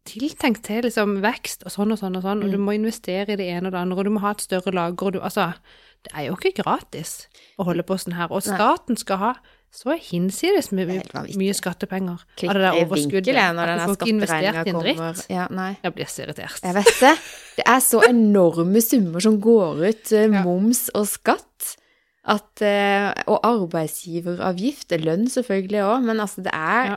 Speaker 2: tiltenkt til liksom, vekst og sånn og sånn og sånn, og
Speaker 1: Mm.
Speaker 2: du må investere i det ene og det andre, og du må ha et større lager, og du Altså, det er jo ikke gratis å holde på sånn her. Og
Speaker 1: Nei.
Speaker 2: staten skal ha så hinsides mye,
Speaker 1: Det er helt vanvittig.
Speaker 2: mye skattepenger av det der
Speaker 1: Klikker i
Speaker 2: overskuddet.
Speaker 1: vinkel jeg, når
Speaker 2: At
Speaker 1: denne
Speaker 2: du får ikke investert i en
Speaker 1: skatteregninga kommer.
Speaker 2: dritt.
Speaker 1: Ja, nei.
Speaker 2: Jeg blir så irritert.
Speaker 1: Jeg vet det. Det er så enorme summer som går ut, eh,
Speaker 2: Ja.
Speaker 1: moms og skatt. At, eh, og arbeidsgiveravgift, lønn selvfølgelig òg, men altså det er,
Speaker 2: Ja.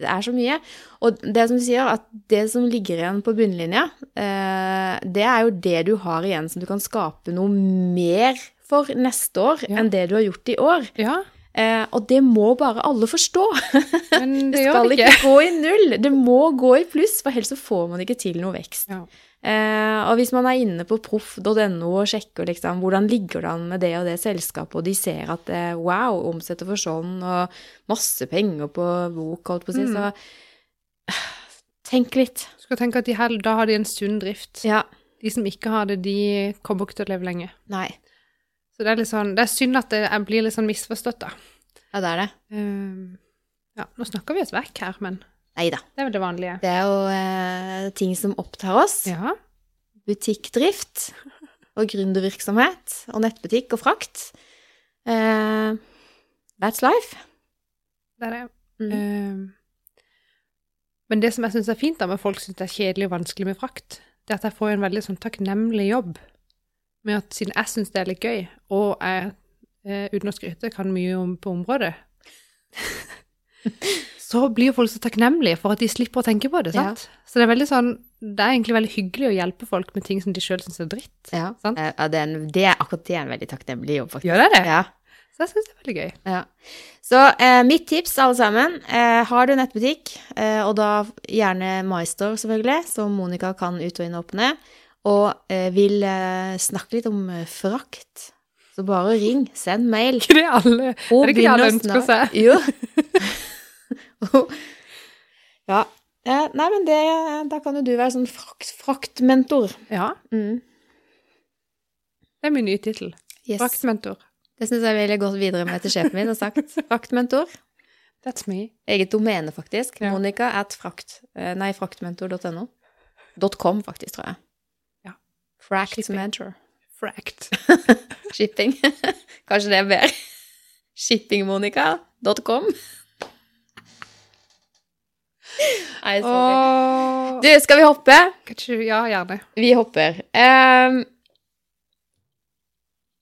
Speaker 1: det er så mye. Og det som du sier, at det som ligger igjen på bunnlinja, eh, det er jo det du har igjen som du kan skape noe mer for neste år
Speaker 2: Ja.
Speaker 1: enn det du har gjort i år.
Speaker 2: Ja,
Speaker 1: Eh, og det må bare alle forstå.
Speaker 2: men det,
Speaker 1: Det
Speaker 2: gjør
Speaker 1: skal
Speaker 2: det
Speaker 1: ikke gå i null. Det må gå i pluss, for ellers så får man ikke til noe vekst.
Speaker 2: Ja.
Speaker 1: Eh, og hvis man er inne på proff.no og sjekker liksom, hvordan ligger det an med det og det selskapet, og de ser at eh, wow, omsetter for sånn, og masse penger på bok, holdt på å si,
Speaker 2: Mm.
Speaker 1: så eh, tenk litt.
Speaker 2: Du skal tenke at de her, da har de en sunn drift.
Speaker 1: Ja.
Speaker 2: De som ikke har det, de kommer ikke til å leve lenge.
Speaker 1: Nei.
Speaker 2: Så det er litt sånn, det er synd at det, jeg blir litt sånn misforstått, da.
Speaker 1: Ja, det er det.
Speaker 2: Ehm, ja, nå snakker vi oss vekk her, men
Speaker 1: Nei da.
Speaker 2: det er vel det vanlige.
Speaker 1: Det er jo eh, ting som opptar oss.
Speaker 2: Ja,
Speaker 1: butikkdrift og gründervirksomhet og nettbutikk og frakt. Eh, that's life.
Speaker 2: det er det.
Speaker 1: Mm.
Speaker 2: Ehm, men det som jeg syns er fint, da, med folk syns det er kjedelig og vanskelig med frakt, det er at jeg får en veldig sånn takknemlig jobb. Med at siden jeg syns det er litt gøy, og jeg eh, uten å skryte kan mye om på området, så blir jo folk så takknemlige for at de slipper å tenke på det. sant? Så det er veldig sånn, det er egentlig veldig hyggelig å hjelpe folk med ting som de sjøl syns er dritt.
Speaker 1: Ja,
Speaker 2: Sant?
Speaker 1: Eh, ja det, er en, det er akkurat det er en veldig takknemlig jobb, faktisk.
Speaker 2: Gjør det det?
Speaker 1: Ja,
Speaker 2: Så jeg syns det er veldig gøy.
Speaker 1: ja. Så eh, mitt tips, alle sammen, eh, har du nettbutikk, eh, og da gjerne MyStore, selvfølgelig, som Monica kan ut og inn og åpne, og eh, vil eh, snakke litt om eh, frakt, så bare ring, send mail.
Speaker 2: Ikke det alle
Speaker 1: Og
Speaker 2: Er det ikke det alle ønsker seg?
Speaker 1: Jo. ja. Eh, Nei, men det, da kan jo du være sånn frakt, fraktmentor.
Speaker 2: Ja,
Speaker 1: Mm.
Speaker 2: det er min nye tittel.
Speaker 1: Yes.
Speaker 2: Fraktmentor.
Speaker 1: Det syns jeg ville gått videre med til sjefen min og sagt. Fraktmentor.
Speaker 2: That's me.
Speaker 1: Eget domene, faktisk.
Speaker 2: Ja.
Speaker 1: Monica at frakt... eh, Nei, fraktmentor.no. Dot .com, faktisk, tror jeg.
Speaker 2: Ja.
Speaker 1: Fraktmentor.
Speaker 2: Fract.
Speaker 1: Shipping. Kanskje det er bedre. Shippingmonica.com. Nei, sorry.
Speaker 2: Åh.
Speaker 1: Du, skal vi hoppe?
Speaker 2: Kan ikke du- Ja, gjerne.
Speaker 1: Vi hopper. Ehm,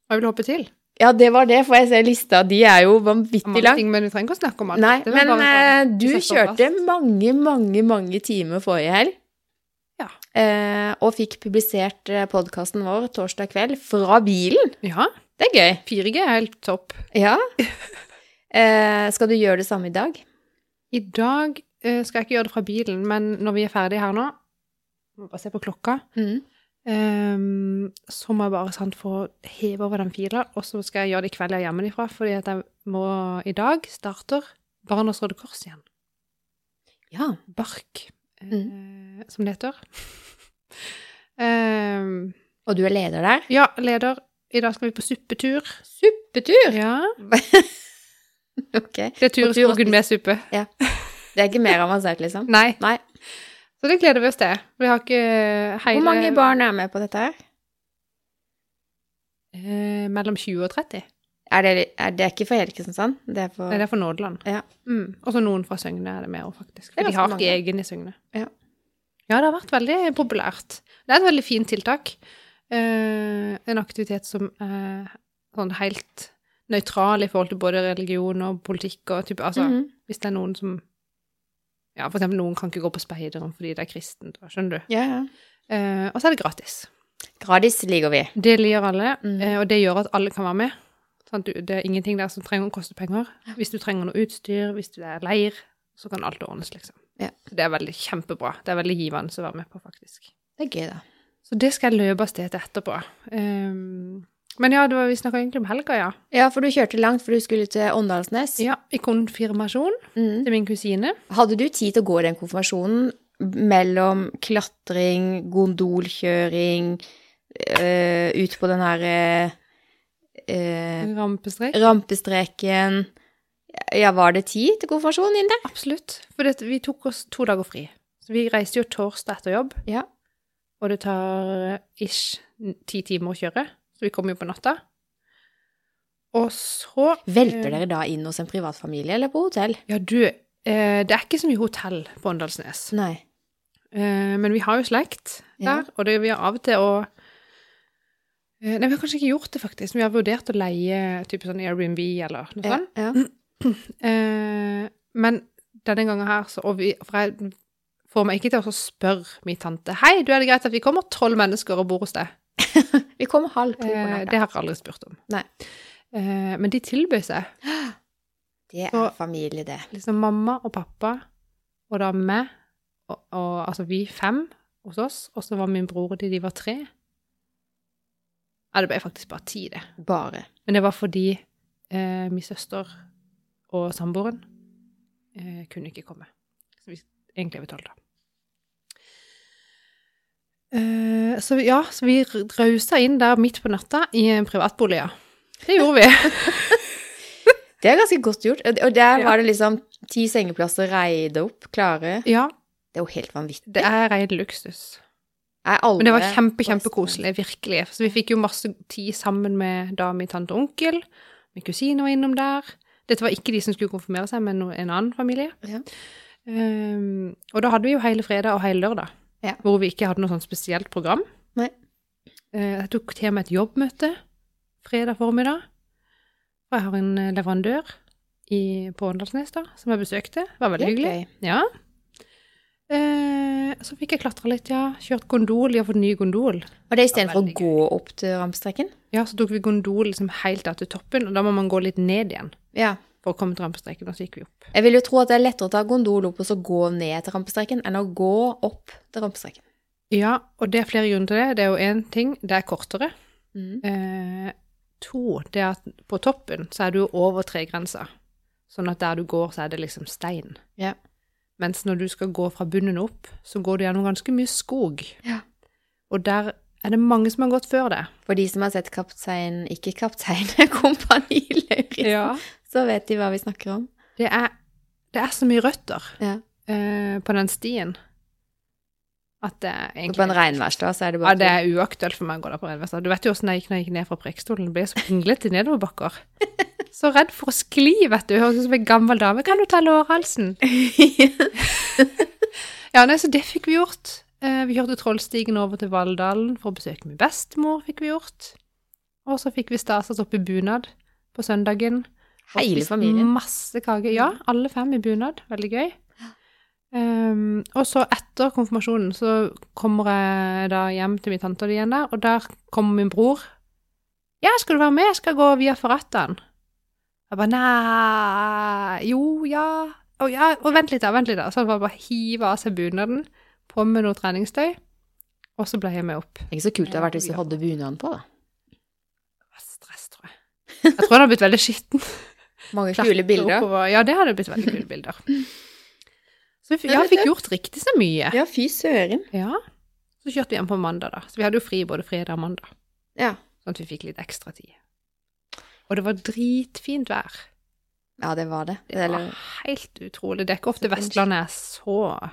Speaker 2: Og jeg vil hoppe til.
Speaker 1: ja, det var det, for jeg ser lista. De er jo
Speaker 2: Om
Speaker 1: vanvittig
Speaker 2: mange
Speaker 1: lang.
Speaker 2: ting, men vi trenger ikke å snakke om alt.
Speaker 1: Nei,
Speaker 2: Det var
Speaker 1: men
Speaker 2: bare
Speaker 1: eh, du
Speaker 2: vi setter oss
Speaker 1: kjørte mange, mange, mange timer forrige helg.
Speaker 2: Ja.
Speaker 1: Eh, og fikk publisert podkasten vår torsdag kveld fra bilen.
Speaker 2: sånn. Ja,
Speaker 1: Det er gøy.
Speaker 2: 4G er helt topp.
Speaker 1: Ja. Eh, skal du gjøre det samme i dag?
Speaker 2: I dag eh, skal jeg ikke gjøre det fra bilen, men når vi er ferdige her nå, må bare se på klokka,
Speaker 1: Mm.
Speaker 2: ehm, så må jeg bare sant, få heve over den fila, og så skal jeg gjøre det i kveld jeg er hjemmefra, fordi at jeg må i dag starter Barnas Røde Kors igjen.
Speaker 1: Ja.
Speaker 2: Bark, eh,
Speaker 1: Mm.
Speaker 2: som det heter. Ehm,
Speaker 1: Og du er leder der?
Speaker 2: ja, leder, i dag skal vi på suppetur.
Speaker 1: Suppetur!
Speaker 2: Ja,
Speaker 1: Ok.
Speaker 2: det er tur
Speaker 1: På
Speaker 2: i
Speaker 1: tur og
Speaker 2: skogen med suppe.
Speaker 1: Det er ikke mer avansert, liksom?
Speaker 2: Nei,
Speaker 1: Nei.
Speaker 2: så det gleder vi oss til. Vi har ikke eh, hele...
Speaker 1: Hvor mange barn er med på dette her?
Speaker 2: Eh, mellom 20 og 30.
Speaker 1: Er det, er det er ikke for hele Kristiansand? Det er for
Speaker 2: Nei, det er for Nådeland.
Speaker 1: Ja.
Speaker 2: Mm. Og så noen fra Søgne er det med òg, faktisk.
Speaker 1: Det er
Speaker 2: For de har
Speaker 1: ganske
Speaker 2: ikke
Speaker 1: mange.
Speaker 2: egen i Søgne.
Speaker 1: Ja.
Speaker 2: Ja, det har vært veldig populært. Det er et veldig fint tiltak. Eh, en aktivitet som er sånn helt nøytral i forhold til både religion og politikk og type Altså,
Speaker 1: Mhm.
Speaker 2: hvis det er noen som Ja, for eksempel noen kan ikke gå på speideren fordi det er kristent, da, skjønner du.
Speaker 1: Ja, ja.
Speaker 2: Eh, og så er det gratis.
Speaker 1: Gradis liker vi.
Speaker 2: Det liker alle,
Speaker 1: Mm.
Speaker 2: eh, og det gjør at alle kan være med. Sånn, du, det er ingenting der som trenger å koste penger. Hvis du trenger noe utstyr, hvis du er leir, så kan alt ordnes, liksom.
Speaker 1: Ja.
Speaker 2: Så det er veldig kjempebra. Det er veldig givende å være med på, faktisk.
Speaker 1: Det er gøy, da.
Speaker 2: Så det skal jeg løpe av sted til etterpå. Ehm, men ja, det var, vi snakka egentlig om helga, ja.
Speaker 1: Ja, for du kjørte langt, for du skulle til Åndalsnes.
Speaker 2: Ja, I konfirmasjon
Speaker 1: Mhm.
Speaker 2: til min kusine.
Speaker 1: Hadde du tid til å gå i den konfirmasjonen mellom klatring, gondolkjøring, øh, ut på den her øh, øh,
Speaker 2: Rampestrek.
Speaker 1: rampestreken Ja, var det tid til konfirmasjonen din der?
Speaker 2: Absolutt. For det, vi tok oss to dager fri. Så vi reiste jo torsdag etter jobb.
Speaker 1: Ja.
Speaker 2: Og det tar eh, ish ti timer å kjøre, så vi kom jo på natta. Og så
Speaker 1: Velter
Speaker 2: Eh.
Speaker 1: dere da inn hos en privatfamilie eller på hotell?
Speaker 2: Ja, du, eh, det er ikke så mye hotell på Åndalsnes.
Speaker 1: Nei.
Speaker 2: Eh, men vi har jo slekt
Speaker 1: Ja.
Speaker 2: der, og det vi har av og til å eh, Nei, vi har kanskje ikke gjort det, faktisk. men Vi har vurdert å leie type sånn Airbnb eller noe
Speaker 1: Ja,
Speaker 2: sånt.
Speaker 1: ja.
Speaker 2: Eh, men denne gangen her, så og vi, For jeg får meg ikke til å spørre min tante Hei, du, er det greit at vi kommer tolv mennesker og bor hos deg?
Speaker 1: Vi kommer halv to på
Speaker 2: Eh,
Speaker 1: natta.
Speaker 2: det har jeg aldri spurt om.
Speaker 1: Nei.
Speaker 2: Eh, men de tilbød seg.
Speaker 1: Det er
Speaker 2: så-
Speaker 1: familie, det.
Speaker 2: Liksom mamma og pappa, og da meg, og, og, altså vi fem hos oss, og så var min bror og de, de var tre. Ja, det ble faktisk bare ti, det.
Speaker 1: Bare.
Speaker 2: Men det var fordi eh, min søster og samboeren eh, kunne ikke komme. Så vi egentlig er vi tolv, da. Eh, så vi- ja, så vi rausa inn der midt på natta i en privatbolig, ja. Det gjorde vi.
Speaker 1: Det er ganske godt gjort. Og- Og der
Speaker 2: Ja.
Speaker 1: var det liksom ti sengeplasser reide opp, klare.
Speaker 2: Ja,
Speaker 1: Det er jo helt vanvittig.
Speaker 2: det er ren luksus.
Speaker 1: Er alle
Speaker 2: Men det var
Speaker 1: på
Speaker 2: kjempe,
Speaker 1: Vestlandet?
Speaker 2: kjempekoselig, virkelig. Så vi fikk jo masse tid sammen med da min tante og onkel, min kusine var innom der. Dette var ikke de som skulle konfirmere seg, men no- en annen familie.
Speaker 1: Ja.
Speaker 2: Ehm, og da hadde vi jo hele fredag og hele lørdag,
Speaker 1: Ja.
Speaker 2: hvor vi ikke hadde noe sånt spesielt program.
Speaker 1: Nei.
Speaker 2: Eh, jeg tok til meg et jobbmøte fredag formiddag. Og jeg har en eh, leverandør i, på Åndalsnes da, som jeg besøkte. Det var veldig
Speaker 1: Det er gøy.
Speaker 2: hyggelig. Ja. Eh, så fikk jeg klatra litt, ja. Kjørt gondol. Jeg har fått ny gondol.
Speaker 1: Var det istedenfor å
Speaker 2: Veldig gøy.
Speaker 1: gå opp til rampestreken?
Speaker 2: Ja, så tok vi gondol liksom helt der til toppen, og da må man gå litt ned igjen
Speaker 1: Ja.
Speaker 2: for å komme til rampestreken, og så gikk vi opp.
Speaker 1: Jeg vil jo tro at det er lettere å ta gondol opp og så gå ned til rampestreken enn å gå opp til rampestreken.
Speaker 2: Ja, og det er flere grunner til det. Det er jo én ting, det er kortere.
Speaker 1: Mm.
Speaker 2: Eh, to, det er at på toppen så er du jo over tregrensa. Sånn at der du går, så er det liksom stein.
Speaker 1: Ja.
Speaker 2: Mens når du skal gå fra bunnen opp, så går du gjennom ganske mye skog.
Speaker 1: Ja.
Speaker 2: Og der er det mange som har gått før det.
Speaker 1: For de som har sett kaptein Ikke kaptein, Kompani Lauritz, så vet de hva vi snakker om.
Speaker 2: Det er, det er så mye røtter
Speaker 1: Ja.
Speaker 2: eh, på den stien At det er egentlig
Speaker 1: På en regnværsdag så er det
Speaker 2: Ja,
Speaker 1: bare
Speaker 2: det er uaktuelt for meg å gå der på Renvesta. Du vet jo åssen jeg gikk når jeg gikk ned fra Preikestolen. Det Ble så pinglete i nedoverbakker. Så redd for å skli, vet du. Høres ut som en gammel dame. Kan du ta lårhalsen? Ja, nei, så det fikk vi gjort. Eh, Vi kjørte Trollstigen over til Valldalen for å besøke min bestemor, fikk vi gjort. Og så fikk vi staset opp i bunad på søndagen. Og
Speaker 1: Hele
Speaker 2: spist
Speaker 1: familien. Mm.
Speaker 2: Masse kake. Ja, alle fem i bunad. Veldig gøy. Ehm, og så etter konfirmasjonen så kommer jeg da hjem til min tante og de igjen der, og der kommer min bror. Ja, skal du være med? Jeg skal gå via Ferrettaen. Jeg bare nei Jo, ja. Å ja, og vent litt, da. Vent litt, da. Så han bare hiver av seg bunaden, på med noe treningstøy, og så ble jeg med opp.
Speaker 1: Det er ikke så kult Mm. det hadde vært hvis du hadde bunaden på, da.
Speaker 2: Det var stress, tror jeg. Jeg tror han har blitt veldig skitten.
Speaker 1: Mange kule bilder.
Speaker 2: Oppover. Ja, det hadde blitt veldig kule bilder. Så vi,
Speaker 1: Men
Speaker 2: ja,
Speaker 1: vet
Speaker 2: jeg fikk gjort riktig så mye.
Speaker 1: Ja, fy søren.
Speaker 2: Ja. Så kjørte vi hjem på mandag, da. Så vi hadde jo fri både fredag og mandag.
Speaker 1: Ja.
Speaker 2: Sånn at vi fikk litt ekstra tid. Og det var dritfint vær.
Speaker 1: ja, det var det. liksom-
Speaker 2: Det var
Speaker 1: Eller,
Speaker 2: helt utrolig. Det er ikke ofte Vestlandet er så
Speaker 1: det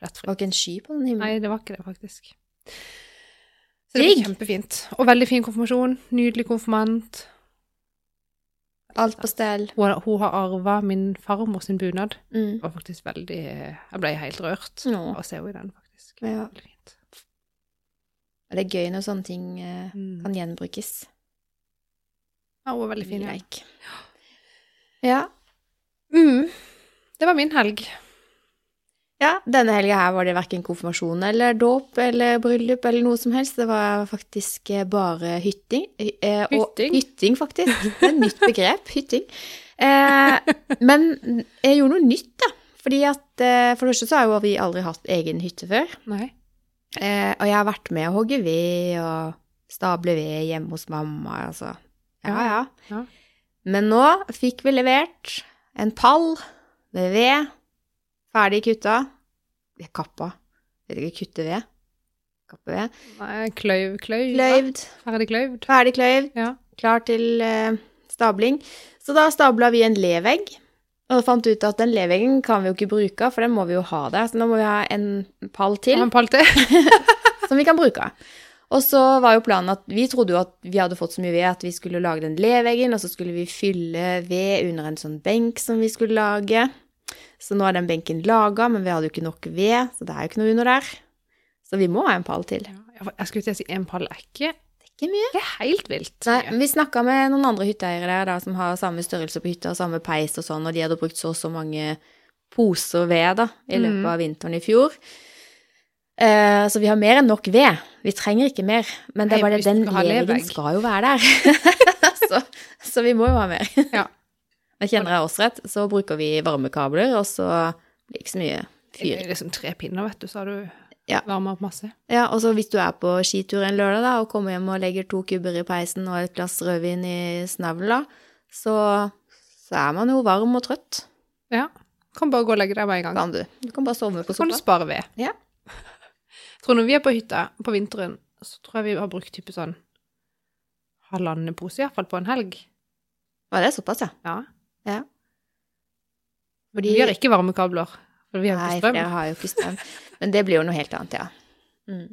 Speaker 2: plettfritt.
Speaker 1: var ikke en sky på den himmelen.
Speaker 2: Nei, det var ikke det, faktisk. Så det var
Speaker 1: Digg.
Speaker 2: kjempefint. Og veldig fin konfirmasjon. Nydelig konfirmant.
Speaker 1: Alt på stell.
Speaker 2: Hun, hun har arva min farmor sin bunad.
Speaker 1: Mm.
Speaker 2: Det var faktisk veldig Jeg ble helt rørt
Speaker 1: Nå.
Speaker 2: av å se henne i den, faktisk.
Speaker 1: Ja.
Speaker 2: Veldig fint.
Speaker 1: Og det er gøy når sånne ting eh,
Speaker 2: Mm.
Speaker 1: kan gjenbrukes.
Speaker 2: Ja, hun var veldig fin. Ja.
Speaker 1: Leik. Ja.
Speaker 2: Mm. Det var min helg.
Speaker 1: ja. Denne helga her var det verken konfirmasjon eller dåp eller bryllup eller noe som helst. Det var faktisk eh, bare hytting. eh, og-
Speaker 2: Hytting?
Speaker 1: Hytting, faktisk. Det er et nytt begrep. Hytting. Eh, men jeg gjorde noe nytt, da. Fordi at eh, For det første så har jo vi aldri hatt egen hytte før.
Speaker 2: Nei.
Speaker 1: Eh, og jeg har vært med å hogge ved og stable ved hjemme hos mamma, altså. Ja, ja.
Speaker 2: Ja.
Speaker 1: Men nå fikk vi levert en pall med ved, ferdig kutta. Vi kappa. Vet ikke, kutte ved. Kappe ved.
Speaker 2: Nei, kløyv, kløyv.
Speaker 1: Kløyvd.
Speaker 2: Ferdig kløyvd.
Speaker 1: Ferdig kløyvd.
Speaker 2: Ja.
Speaker 1: Klar til eh, stabling. Så da stabla vi en levegg. Og fant ut at den leveggen kan vi jo ikke bruke, for den må vi jo ha der. Så nå må vi ha en pall til.
Speaker 2: Og en pall til.
Speaker 1: som vi kan bruke. Og så var jo planen at vi trodde jo at vi hadde fått så mye ved at vi skulle lage den leveggen, og så skulle vi fylle ved under en sånn benk som vi skulle lage. Så nå er den benken laga, men vi hadde jo ikke nok ved, så det er jo ikke noe under der. Så vi må ha en pall til.
Speaker 2: Ja, jeg- Jeg skulle til å si en pall er ikke
Speaker 1: Det er ikke mye.
Speaker 2: Det er helt vilt.
Speaker 1: Nei, men vi snakka med noen andre hytteeiere der da, som har samme størrelse på hytta og samme peis og sånn, og de hadde brukt så og så mange poser ved da, i løpet
Speaker 2: Mhm.
Speaker 1: av vinteren i fjor. Eh, så vi har mer enn nok ved. Vi trenger ikke mer. Men det er
Speaker 2: Nei,
Speaker 1: bare
Speaker 2: hvis
Speaker 1: det, den
Speaker 2: du skal ha
Speaker 1: leveggen
Speaker 2: levegg.
Speaker 1: skal jo være der. så, så vi må jo ha mer.
Speaker 2: Ja.
Speaker 1: Men kjenner jeg oss rett, så bruker vi varmekabler, og så blir det ikke så mye
Speaker 2: Det er
Speaker 1: fyring.
Speaker 2: liksom tre pinner, vet du, så har du
Speaker 1: Ja.
Speaker 2: varma opp masse.
Speaker 1: Ja, og så hvis du er på skitur en lørdag da, og kommer hjem og legger to kubber i peisen og et glass rødvin i snavla, så, så er man jo varm og trøtt.
Speaker 2: Ja. Kan bare gå og legge deg med en gang.
Speaker 1: Kan du. Du kan bare sovne på
Speaker 2: Så kan du
Speaker 1: sofaen.
Speaker 2: spare ved.
Speaker 1: Ja.
Speaker 2: Jeg tror når vi er på hytta på vinteren, så tror jeg vi har brukt type sånn halvannen pose, iallfall på en helg.
Speaker 1: Var det såpass, ja?
Speaker 2: Ja.
Speaker 1: Ja.
Speaker 2: Fordi Vi har ikke varmekabler, for vi har
Speaker 1: Nei,
Speaker 2: ikke
Speaker 1: for
Speaker 2: strøm.
Speaker 1: dere har jo ikke strøm. Men det blir jo noe helt annet, ja. Mm.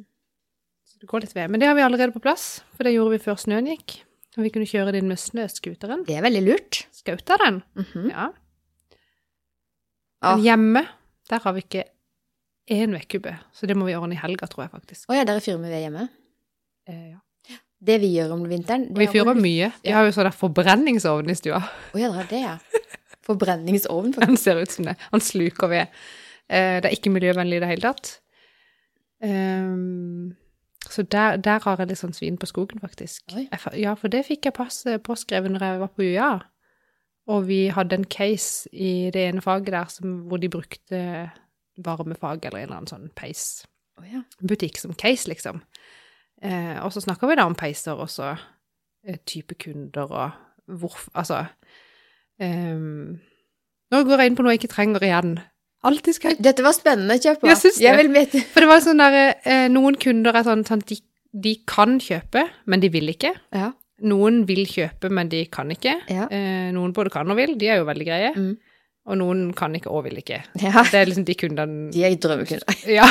Speaker 2: Så det går litt ved. Men det har vi allerede på plass, for det gjorde vi før snøen gikk. Og vi kunne kjøre det inn med snøscooteren.
Speaker 1: Det er veldig lurt.
Speaker 2: Skauta den.
Speaker 1: Mhm.
Speaker 2: Ja.
Speaker 1: Ah.
Speaker 2: Men hjemme, der har vi ikke én vedkubbe, så det må vi ordne i helga, tror jeg faktisk.
Speaker 1: Å ja, dere fyrer med ved hjemme.
Speaker 2: Eh, ja.
Speaker 1: Det vi gjør om vinteren
Speaker 2: Og vi
Speaker 1: det er å-
Speaker 2: fyrer mye. Vi har jo sånn der forbrenningsovn i stua.
Speaker 1: Å ja, dere har det, ja. Forbrenningsovn, faktisk.
Speaker 2: Den ser ut som det. Han sluker ved. Eh, det er ikke miljøvennlig i det hele tatt. Ehm, så der, der har jeg litt sånn svin på skogen, faktisk.
Speaker 1: Oi.
Speaker 2: Jeg, fa- ja, for det fikk jeg passe påskrevet når jeg var på UiA. Og vi hadde en case i det ene faget der som, hvor de brukte varmefag eller en eller annen sånn peis
Speaker 1: Å ja.
Speaker 2: butikk som case, liksom. Eh, og så snakker vi da om peiser og så eh, type kunder og hvorfor Altså ehm, Nå går jeg inn på noe jeg ikke trenger igjen. Alltid skal jeg
Speaker 1: Dette var spennende, kjøp på.
Speaker 2: Jeg syns det.
Speaker 1: Jeg vil vite
Speaker 2: For det var sånn der eh, Noen kunder er sånn sånn at de, de kan kjøpe, men de vil ikke.
Speaker 1: Ja.
Speaker 2: Noen vil kjøpe, men de kan ikke.
Speaker 1: Ja.
Speaker 2: Eh, noen både kan og vil. De er jo veldig greie.
Speaker 1: Mm.
Speaker 2: Og noen kan ikke og vil ikke.
Speaker 1: Ja,
Speaker 2: Det er liksom de kundene
Speaker 1: de er drømmekunder.
Speaker 2: Ja.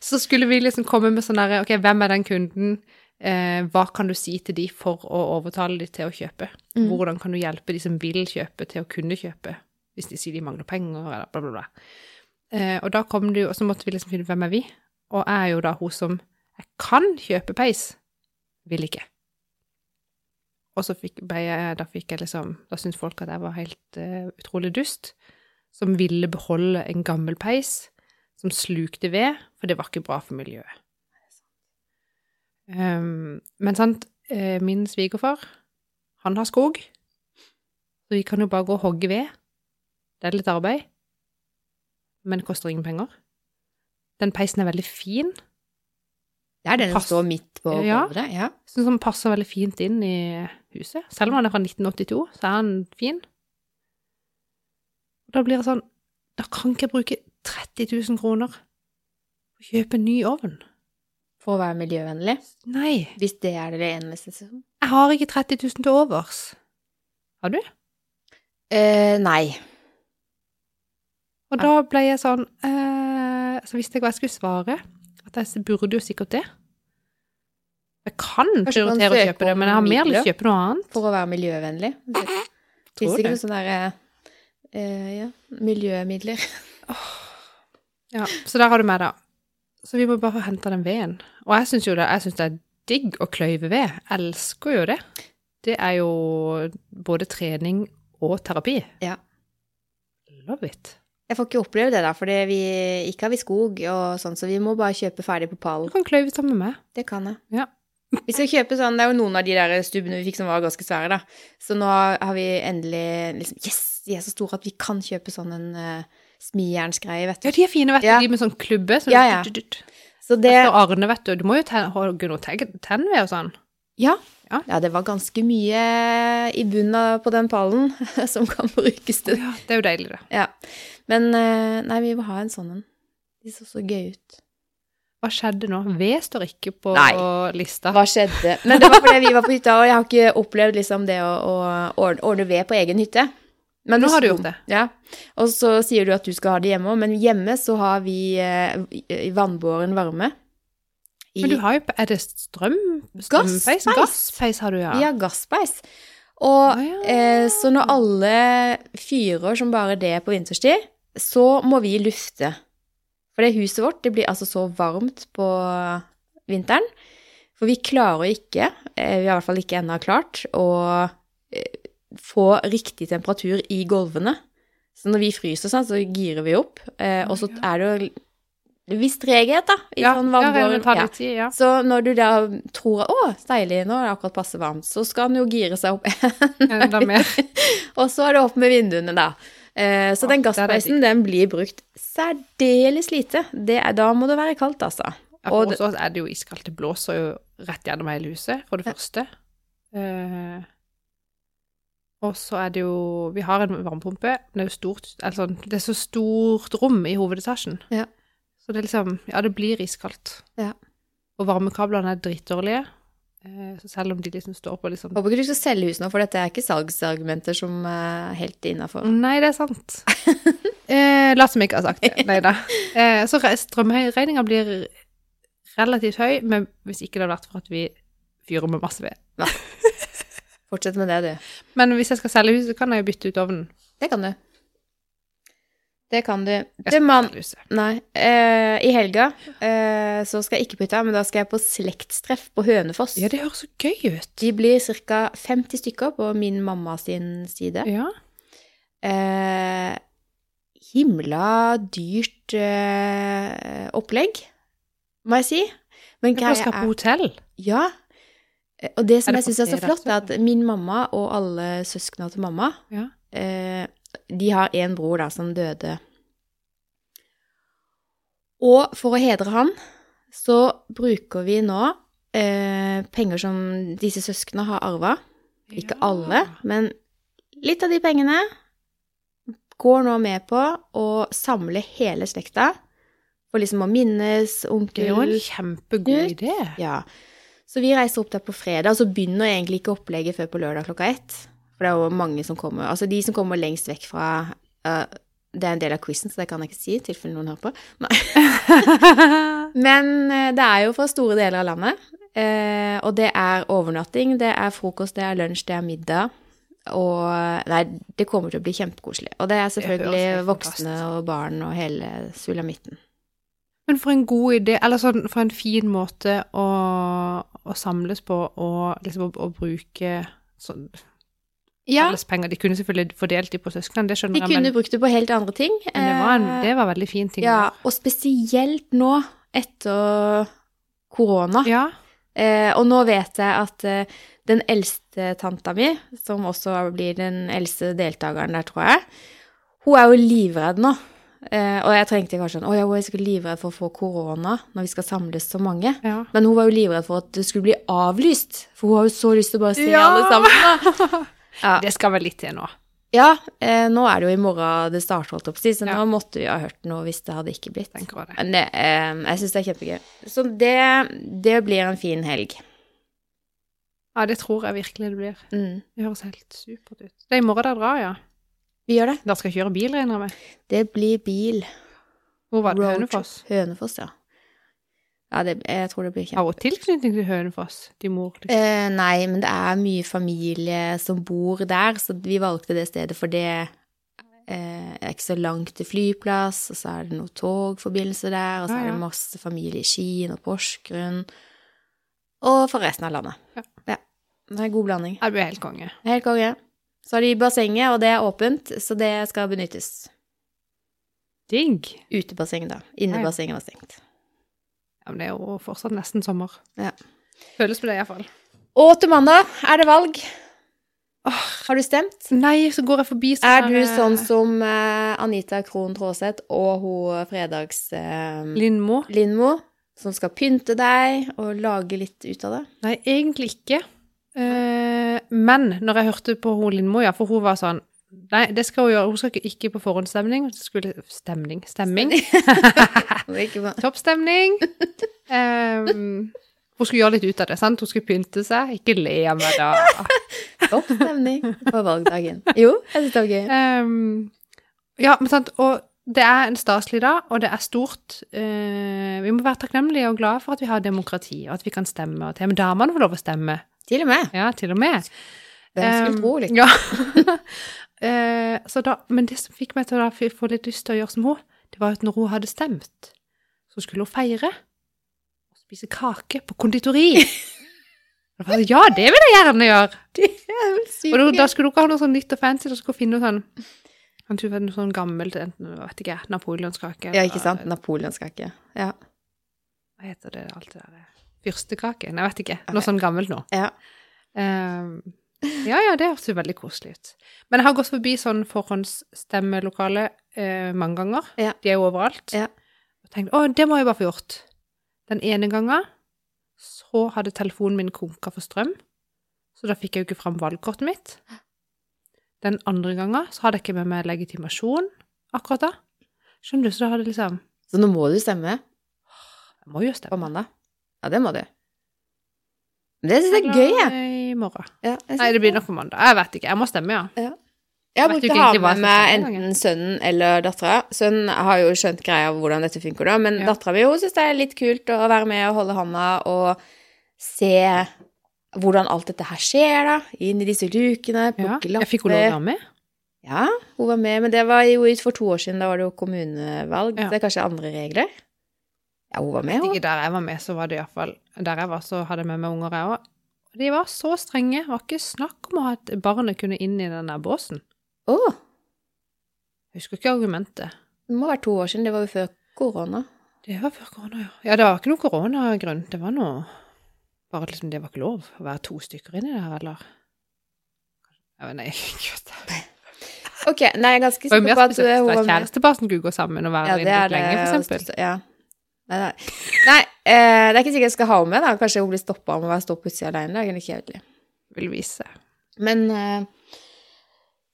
Speaker 2: Så skulle vi liksom komme med sånn derre Ok, hvem er den kunden? Eh, hva kan du si til de for å overtale de til å kjøpe?
Speaker 1: Mm.
Speaker 2: Hvordan kan du hjelpe de som vil kjøpe, til å kunne kjøpe? Hvis de sier de mangler penger, eller bla, bla, bla. Eh, og da kom du, og så måtte vi liksom finne ut hvem er vi? Og jeg er jo da hun som jeg kan kjøpe peis, vil ikke. Og så fikk, ble jeg, da fikk jeg liksom Da syntes folk at jeg var helt eh, utrolig dust, som ville beholde en gammel peis som slukte ved, for det var ikke bra for miljøet. Um, men sant, eh, min svigerfar, han har skog, så vi kan jo bare gå og hogge ved. Det er litt arbeid, men det koster ingen penger. Den peisen er veldig fin,
Speaker 1: Det er den som
Speaker 2: Pass.
Speaker 1: står midt på
Speaker 2: Ja.
Speaker 1: bordet. Ja.
Speaker 2: synes han passer veldig fint inn i huset. Selv om han er fra 1982, så er han fin. Og da blir det sånn, da kan ikke jeg bruke 30 000 kroner og kjøpe en ny ovn.
Speaker 1: For å være miljøvennlig.
Speaker 2: Nei,
Speaker 1: Hvis det er det eneste som
Speaker 2: jeg har ikke 30 000 til overs. Har du?
Speaker 1: eh, Nei.
Speaker 2: Og da ble jeg sånn eh, Så visste jeg hva jeg skulle svare. At jeg burde jo sikkert det. Jeg kan
Speaker 1: Kanskje du kan
Speaker 2: prioritere å
Speaker 1: søke
Speaker 2: kjøpe det,
Speaker 1: om
Speaker 2: men jeg har mer lyst til å
Speaker 1: midler?
Speaker 2: kjøpe noe annet.
Speaker 1: For å være miljøvennlig. Det
Speaker 2: Tror
Speaker 1: fins
Speaker 2: det.
Speaker 1: ikke noe sånn derre eh, ja, miljømidler.
Speaker 2: Ja, så der har du meg, da. Så vi må bare få henta den veden. Og jeg syns jo det, jeg synes det er digg å kløyve ved. Jeg elsker jo det. Det er jo både trening og terapi.
Speaker 1: Ja.
Speaker 2: Love it.
Speaker 1: Jeg får ikke oppleve det der, for vi, ikke har vi skog og sånn, så vi må bare kjøpe ferdig på
Speaker 2: Du
Speaker 1: pallen.
Speaker 2: kan kløyve sammen med meg.
Speaker 1: Det kan jeg.
Speaker 2: Ja.
Speaker 1: Vi skal kjøpe sånn, det er jo noen av de der stubbene vi fikk som var ganske svære, da. Så nå har vi endelig liksom Yes, de er så store at vi kan kjøpe sånn en uh, smijernsgreie, vet
Speaker 2: Ja,
Speaker 1: du.
Speaker 2: de er fine, vet du.
Speaker 1: Ja.
Speaker 2: De med sånn klubbe. Sånn,
Speaker 1: Ja, ja.
Speaker 2: dutt, dutt, dutt.
Speaker 1: Så det
Speaker 2: Etter Arne, vet du. Du må jo ten- ha Gunnar Teg- Tenve og sånn.
Speaker 1: Ja.
Speaker 2: Ja.
Speaker 1: Ja, det var ganske mye i bunnen av- på den pallen som kan brukes til
Speaker 2: Ja, det er jo deilig, det.
Speaker 1: Ja. Men eh, nei, vi må ha en sånn en. De så så gøy ut.
Speaker 2: Hva skjedde nå? V står ikke på
Speaker 1: Nei.
Speaker 2: lista.
Speaker 1: Hva skjedde? Men det var fordi vi var på hytta, og jeg har ikke opplevd liksom det å, å ordne, ordne ved på egen hytte. Men
Speaker 2: Nå har du
Speaker 1: sto-
Speaker 2: gjort det.
Speaker 1: Ja. Og så sier du at du skal ha det hjemme òg, men hjemme så har vi eh, i- i vannbåren varme. I,
Speaker 2: Men du har jo Er det strøm? Strømpeis?
Speaker 1: Gasspeis.
Speaker 2: Gasspeis har du, ja.
Speaker 1: Vi har gasspeis. Og
Speaker 2: Å, ja.
Speaker 1: eh, så når alle fyrer som bare det på vinterstid, så må vi lufte. For det huset vårt, det blir altså så varmt på vinteren. For vi klarer ikke, eh, vi har i hvert fall ikke ennå klart, å eh, få riktig temperatur i gulvene. Så når vi fryser sånn, så girer vi opp. Eh, og så er det jo en viss treghet, da. I
Speaker 2: Ja,
Speaker 1: sånn
Speaker 2: ja,
Speaker 1: varmbåren-
Speaker 2: det tar
Speaker 1: ja.
Speaker 2: litt tid, ja.
Speaker 1: Så når du da tror å, deilig, nå er det akkurat passe varmt, så skal den jo gire seg opp.
Speaker 2: Enda mer.
Speaker 1: og så er det opp med vinduene, da. Eh, så
Speaker 2: Ja,
Speaker 1: den
Speaker 2: der er det
Speaker 1: gasspeisen, den blir brukt særdeles lite. Det er, da må det være kaldt, altså.
Speaker 2: Ja,
Speaker 1: Og
Speaker 2: for
Speaker 1: det-
Speaker 2: hos oss er det jo iskaldt. Det blåser jo rett gjennom hele huset, for det
Speaker 1: Ja.
Speaker 2: første. Eh, og så er det jo Vi har en varmepumpe. men Det er jo stort altså, Det er så stort rom i hovedetasjen.
Speaker 1: Ja.
Speaker 2: Så det er liksom Ja, det blir iskaldt.
Speaker 1: Ja.
Speaker 2: Og varmekablene er drittdårlige. eh, så selv om de liksom står på liksom
Speaker 1: Håper ikke du skal selge huset nå, for dette er ikke salgsargumenter som eh, er helt innafor.
Speaker 2: Nei, det er sant. Eh, la som jeg ikke har sagt det. Nei da. Eh, så re- strømregninga blir relativt høy, men hvis ikke det hadde vært for at vi fyrer med masse ved.
Speaker 1: Fortsett med det, du.
Speaker 2: Men hvis jeg skal selge huset, kan jeg jo bytte ut ovnen.
Speaker 1: Det kan du. Det kan du.
Speaker 2: Jeg
Speaker 1: Du,
Speaker 2: skal
Speaker 1: mann
Speaker 2: selge huset.
Speaker 1: Nei. Eh, I helga eh, så skal jeg ikke på hytta, men da skal jeg på slektstreff på Hønefoss.
Speaker 2: Ja, det høres så gøy ut.
Speaker 1: De blir ca. 50 stykker på min mamma sin side.
Speaker 2: Ja.
Speaker 1: Eh, himla dyrt eh, opplegg, må jeg si. Men
Speaker 2: Men hva
Speaker 1: greia
Speaker 2: skal på
Speaker 1: er
Speaker 2: hotell?
Speaker 1: Ja. Eh, Og det som
Speaker 2: Er det
Speaker 1: jeg syns er så
Speaker 2: på
Speaker 1: flott, er
Speaker 2: fredag,
Speaker 1: at min mamma og alle søskna til mamma
Speaker 2: Ja.
Speaker 1: eh, De har en bror da som døde. Og for å hedre han, så bruker vi nå eh, penger som disse søskna har arva. Ikke
Speaker 2: Ja.
Speaker 1: alle, men litt av de pengene går nå med på å samle hele slekta. For liksom å minnes
Speaker 2: Det er jo en
Speaker 1: onkel
Speaker 2: kjempegod
Speaker 1: Ut.
Speaker 2: idé.
Speaker 1: Ja. Så vi reiser opp der på fredag, og så begynner egentlig ikke opplegget før på lørdag klokka ett. For det er jo mange som kommer. Altså de som kommer lengst vekk fra eh, det er en del av quizen, så det kan jeg ikke si, i tilfelle noen hører på. Nei. Men eh, det er jo fra store deler av landet. eh, Og det er overnatting, det er frokost, det er lunsj, det er middag. Og nei, det kommer til å bli kjempekoselig. Og det er
Speaker 2: Det høres helt
Speaker 1: selvfølgelig
Speaker 2: fantastisk.
Speaker 1: voksne og barn og hele sulamitten.
Speaker 2: Men for en god idé, eller sånn for en fin måte å, å samles på og liksom å, å bruke sånn
Speaker 1: Ja,
Speaker 2: felles penger. De kunne selvfølgelig fordelt de på søsknene, det skjønner
Speaker 1: de
Speaker 2: jeg,
Speaker 1: kunne
Speaker 2: men,
Speaker 1: brukt det på helt andre ting.
Speaker 2: men det, var en,
Speaker 1: Eh,
Speaker 2: det var veldig fin ting.
Speaker 1: Ja, og spesielt nå etter korona.
Speaker 2: ja.
Speaker 1: Eh, og nå vet jeg at eh, den eldste tanta mi, som også blir den eldste deltakeren der, tror jeg, hun er jo livredd nå. Eh, og jeg trengte kanskje sånn Å ja, hun er sikkert livredd for å få korona når vi skal samles så mange.
Speaker 2: ja.
Speaker 1: Men hun var jo livredd for at det skulle bli avlyst, for hun har jo så lyst til å bare se
Speaker 2: Ja!
Speaker 1: alle sammen. Da. Ja.
Speaker 2: Det skal vel litt til nå.
Speaker 1: Ja, eh, nå er det jo i morgen det starter, holdt jeg på å si, så
Speaker 2: Ja.
Speaker 1: nå måtte vi ha hørt noe hvis det hadde ikke blitt.
Speaker 2: tenker jeg det.
Speaker 1: Men det, eh, jeg syns det er kjempegøy. Så det, det blir en fin helg.
Speaker 2: Ja, det tror jeg virkelig det blir.
Speaker 1: Mm.
Speaker 2: Det høres helt supert ut. Det er i morgen dere drar, ja.
Speaker 1: Vi gjør det.
Speaker 2: Dere skal kjøre bil, regner jeg med.
Speaker 1: Det blir bil.
Speaker 2: Hvor var det?
Speaker 1: Roadtrip.
Speaker 2: Hønefoss?
Speaker 1: Hønefoss, ja. Ja, det, jeg tror det blir
Speaker 2: Har
Speaker 1: kjempe...
Speaker 2: hun tilknytning til Hønefoss? De mor? Liksom.
Speaker 1: Eh, nei, men det er mye familie som bor der, så vi valgte det stedet, for det eh, er ikke så langt til flyplass, og så er det noen togforbindelser der, og så
Speaker 2: Ja,
Speaker 1: er
Speaker 2: ja.
Speaker 1: det masse familie i Skien og Porsgrunn, og for resten av landet.
Speaker 2: Ja.
Speaker 1: Det er en god blanding.
Speaker 2: Ja, du er helt konge.
Speaker 1: Helt konge. Så har de bassenget, og det er åpent, så det skal benyttes.
Speaker 2: Digg.
Speaker 1: Utebasseng, da.
Speaker 2: Ja, ja.
Speaker 1: Innebassenget var stengt.
Speaker 2: Ja, men det er jo fortsatt nesten sommer.
Speaker 1: Ja.
Speaker 2: Føles med det, iallfall.
Speaker 1: Og til mandag er det valg. Har du stemt?
Speaker 2: Nei, så går jeg forbi
Speaker 1: Er du
Speaker 2: her, eh,
Speaker 1: sånn som eh, Anita Krohn Traaseth og hun fredags eh,
Speaker 2: Lindmo?
Speaker 1: Lindmo, som skal pynte deg og lage litt ut av det?
Speaker 2: Nei, egentlig ikke. Eh, men når jeg hørte på hun Lindmo, ja, for hun var sånn Nei, det skal hun gjøre. Hun skal ikke, ikke på forhåndsstemning. Hun skulle Stemning. Stemming.
Speaker 1: Det er ikke bra.
Speaker 2: Toppstemning. Ehm, hun skulle gjøre litt ut av det, sant? Hun skulle pynte seg. Ikke le av meg, da.
Speaker 1: Topp stemning på valgdagen. Jo, jeg syns det var gøy.
Speaker 2: Ehm, ja, men sant, og det er en staselig dag, og det er stort. Eh, vi må være takknemlige og glade for at vi har demokrati, og at vi kan stemme. Og til og med damene får lov å stemme.
Speaker 1: Til og med.
Speaker 2: Ja, til og med.
Speaker 1: Hvem skulle
Speaker 2: Ehm,
Speaker 1: tro, liksom.
Speaker 2: Ja. Eh, så da, men det som fikk meg til å da f- få litt lyst til å gjøre som hun, det var at når hun hadde stemt, så skulle hun feire og spise kake på konditori. Og da var jeg, ja, det vil jeg gjerne gjøre!
Speaker 1: Det er vel
Speaker 2: Og da,
Speaker 1: sykt
Speaker 2: da
Speaker 1: gøy.
Speaker 2: skulle hun ikke ha noe sånn nytt og fancy, da skulle hun finne noe sånn han tror det var noe sånn gammelt, enten, jeg vet ikke,
Speaker 1: Ja,
Speaker 2: napoleonskake. eller-
Speaker 1: ikke sant? Napoleonskake. Ja.
Speaker 2: Hva heter det, alt det der? Fyrstekake? Nei, jeg vet ikke. Noe sånn gammelt nå.
Speaker 1: ja.
Speaker 2: Ehm, ja, ja, det høres jo veldig koselig ut. Men jeg har gått forbi sånn forhåndsstemmelokale eh, mange ganger.
Speaker 1: Ja.
Speaker 2: De er jo overalt.
Speaker 1: Ja.
Speaker 2: Og tenkte, å, det må jeg bare få gjort. Den ene gangen så hadde telefonen min konka for strøm, så da fikk jeg jo ikke fram valgkortet mitt. Den andre gangen så hadde jeg ikke med meg legitimasjon akkurat da. Skjønner du, så da hadde jeg liksom
Speaker 1: Så nå må du stemme
Speaker 2: Jeg må jo
Speaker 1: på
Speaker 2: stemme.
Speaker 1: mandag. Ja, det må du. Men det syns jeg er gøy, jeg.
Speaker 2: eh, I morgen.
Speaker 1: Ja, jeg synes
Speaker 2: Nei, det blir nok på mandag. Jeg vet ikke. Jeg må stemme, ja.
Speaker 1: Jeg
Speaker 2: Vet
Speaker 1: brukte å
Speaker 2: du ikke
Speaker 1: ha
Speaker 2: egentlig hva
Speaker 1: med
Speaker 2: som
Speaker 1: meg
Speaker 2: skjer engang,
Speaker 1: enten sønnen eller dattera. Sønnen har jo skjønt greia av hvordan dette funker, da, men
Speaker 2: Ja.
Speaker 1: dattera mi syns det er litt kult å være med og holde handa og se hvordan alt dette her skjer, da. Inn i disse lukene,
Speaker 2: ja.
Speaker 1: plukke
Speaker 2: Jeg fikk jo lov å
Speaker 1: lapper.
Speaker 2: være med.
Speaker 1: Ja, hun var med, men det var jo for to år siden. Da var det jo kommunevalg.
Speaker 2: Ja.
Speaker 1: Det er kanskje andre regler? Ja, hun var med,
Speaker 2: vet
Speaker 1: hun.
Speaker 2: ikke, der jeg var med, så var det iallfall Der jeg var, så hadde jeg med meg unger, jeg òg. De var så strenge. Det var ikke snakk om at barnet kunne inn i den der båsen.
Speaker 1: Å,
Speaker 2: Jeg husker ikke argumentet.
Speaker 1: det må være to år siden. Det var jo før korona.
Speaker 2: Det var før korona, ja. Ja, det var ikke noen koronagrunn. Det var noe Bare at liksom, det var ikke lov å være to stykker inni der, eller? Ja, men nei, gud. Det
Speaker 1: Ok, nei, jeg er ganske
Speaker 2: var jo
Speaker 1: sikker
Speaker 2: mer
Speaker 1: på at eh,
Speaker 2: spesielt
Speaker 1: hun
Speaker 2: at
Speaker 1: var med.
Speaker 2: kjærestepar som kunne gå sammen og være inne lenge, for
Speaker 1: også
Speaker 2: eksempel.
Speaker 1: stø- altså, Ja. Nei, nei. nei eh, det er ikke sikkert jeg skal ha henne med. da. Kanskje hun blir stoppa om å være stå på utsida alene. Det er egentlig kjedelig.
Speaker 2: Vil vise.
Speaker 1: Men eh,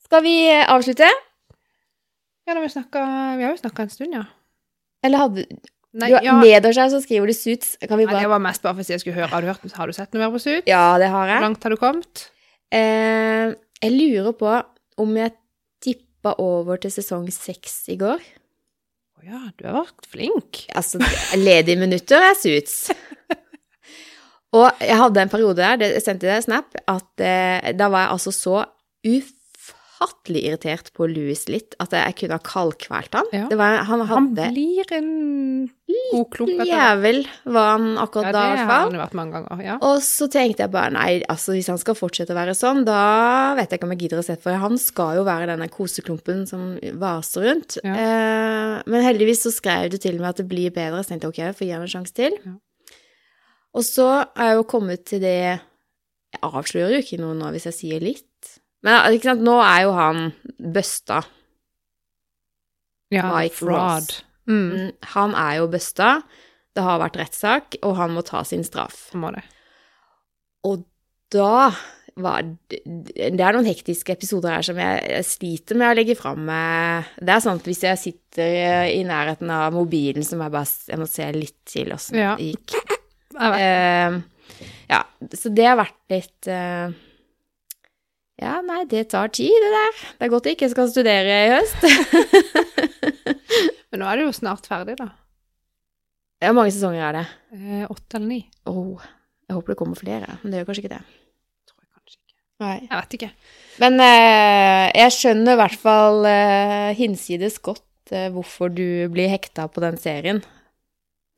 Speaker 1: skal vi eh, avslutte?
Speaker 2: Ja, da har vi snakka Vi har jo snakka en stund, ja.
Speaker 1: Eller hadde
Speaker 2: Nei,
Speaker 1: du har,
Speaker 2: ja.
Speaker 1: Nederst her så skriver du Suits. Kan vi
Speaker 2: Nei, Det
Speaker 1: bare
Speaker 2: var mest bare for å si jeg skulle høre. Har du, hørt, har du sett noe mer på Suits?
Speaker 1: Ja, det har
Speaker 2: Hvor
Speaker 1: jeg.
Speaker 2: langt har du kommet?
Speaker 1: Eh, jeg lurer på om jeg tipper hoppa over til sesong seks i går.
Speaker 2: Å ja, du har vært flink.
Speaker 1: Altså, ledige minutter er suits. Og jeg hadde en periode der, det jeg sendte deg en snap, at eh, da var jeg altså så ufattelig irritert på Louis litt at jeg kunne ha kaldkvalt han.
Speaker 2: Ja.
Speaker 1: Det var, han
Speaker 2: Han
Speaker 1: hadde
Speaker 2: blir en god klump
Speaker 1: en
Speaker 2: etter hvert.
Speaker 1: jævel, var han akkurat
Speaker 2: Ja, det
Speaker 1: da i
Speaker 2: har
Speaker 1: hvert fall.
Speaker 2: han jo vært mange ganger. Ja.
Speaker 1: Og så tenkte jeg bare nei, altså hvis han skal fortsette å være sånn, da vet jeg ikke om jeg gidder å se for Han skal jo være denne koseklumpen som vaser rundt.
Speaker 2: Ja.
Speaker 1: Eh, men heldigvis så skrev du til meg at det blir bedre, så tenkte jeg ok, jeg får gi ham en sjanse til.
Speaker 2: Ja.
Speaker 1: Og så er jeg jo kommet til det Jeg avslører jo ikke noe nå hvis jeg sier litt. Men eh, ikke sant, nå er jo han busta.
Speaker 2: Ja,
Speaker 1: Mike
Speaker 2: fraud.
Speaker 1: Ross.
Speaker 2: Mm.
Speaker 1: Mm, Han er jo busta. Det har vært rettssak, og han må ta sin straff.
Speaker 2: Han må det.
Speaker 1: Og da var det Det er noen hektiske episoder her som jeg, jeg sliter med å legge fram. eh, Det er sånn at hvis jeg sitter eh, i nærheten av mobilen, så må jeg bare s- jeg må se litt til åssen
Speaker 2: Ja.
Speaker 1: det gikk.
Speaker 2: Jeg vet.
Speaker 1: Eh, ja, så det har vært litt eh, Ja, nei, det tar tid, det der. Det er godt jeg ikke skal studere i høst. Eh.
Speaker 2: Men nå er det jo snart ferdig, da.
Speaker 1: Ja, mange sesonger er det.
Speaker 2: Eh, åtte eller ni?
Speaker 1: Åh, jeg håper det kommer flere, men det gjør kanskje ikke det.
Speaker 2: Tror jeg kanskje ikke.
Speaker 1: Nei.
Speaker 2: Jeg vet ikke.
Speaker 1: Men eh, jeg skjønner i hvert fall eh, hinsides godt eh, hvorfor du blir hekta på den serien.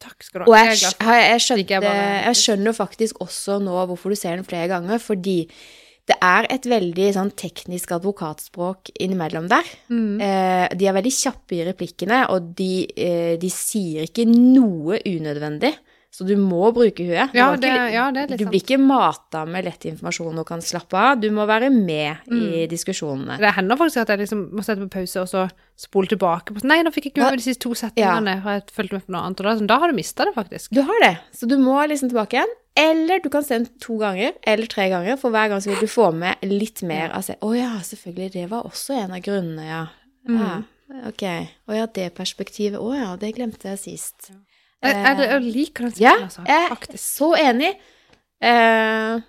Speaker 2: Takk skal du
Speaker 1: Og
Speaker 2: ha.
Speaker 1: jeg,
Speaker 2: Jeg er glad
Speaker 1: skj-
Speaker 2: for-
Speaker 1: jeg, jeg,
Speaker 2: Ikke jeg
Speaker 1: skjønte,
Speaker 2: bare-
Speaker 1: jeg skjønner faktisk også nå hvorfor du ser den flere ganger, fordi det er et veldig sånn, teknisk advokatspråk innimellom der.
Speaker 2: Mm.
Speaker 1: Eh, de er veldig kjappe i replikkene, og de, eh, de sier ikke noe unødvendig. Så du må bruke huet. Du,
Speaker 2: Ja,
Speaker 1: må
Speaker 2: det,
Speaker 1: ikke,
Speaker 2: ja, det er litt sånn-
Speaker 1: du
Speaker 2: sant.
Speaker 1: blir ikke mata med lett informasjon og kan slappe av. Du må være med
Speaker 2: Mm.
Speaker 1: i diskusjonene.
Speaker 2: Det hender faktisk at jeg liksom må sette på pause og så spole tilbake. på sånn, Nei, nå fikk jeg ikke
Speaker 1: Hva?
Speaker 2: med de siste to setningene, for jeg fulgte med på noe annet. Og da, er det sånn, da har du mista det, faktisk.
Speaker 1: Du har det, så du må liksom tilbake igjen. Eller du kan se den to ganger, eller tre ganger, for hver gang så vil du få med litt mer av se. Å ja, selvfølgelig, det var også en av grunnene, ja. ja. Ok. Å ja, det perspektivet. Å ja, det glemte jeg sist.
Speaker 2: Jeg, jeg, jeg liker den
Speaker 1: Eh. Ja, eh.
Speaker 2: setningen, altså.
Speaker 1: jeg er
Speaker 2: Faktisk.
Speaker 1: så enig. Eh,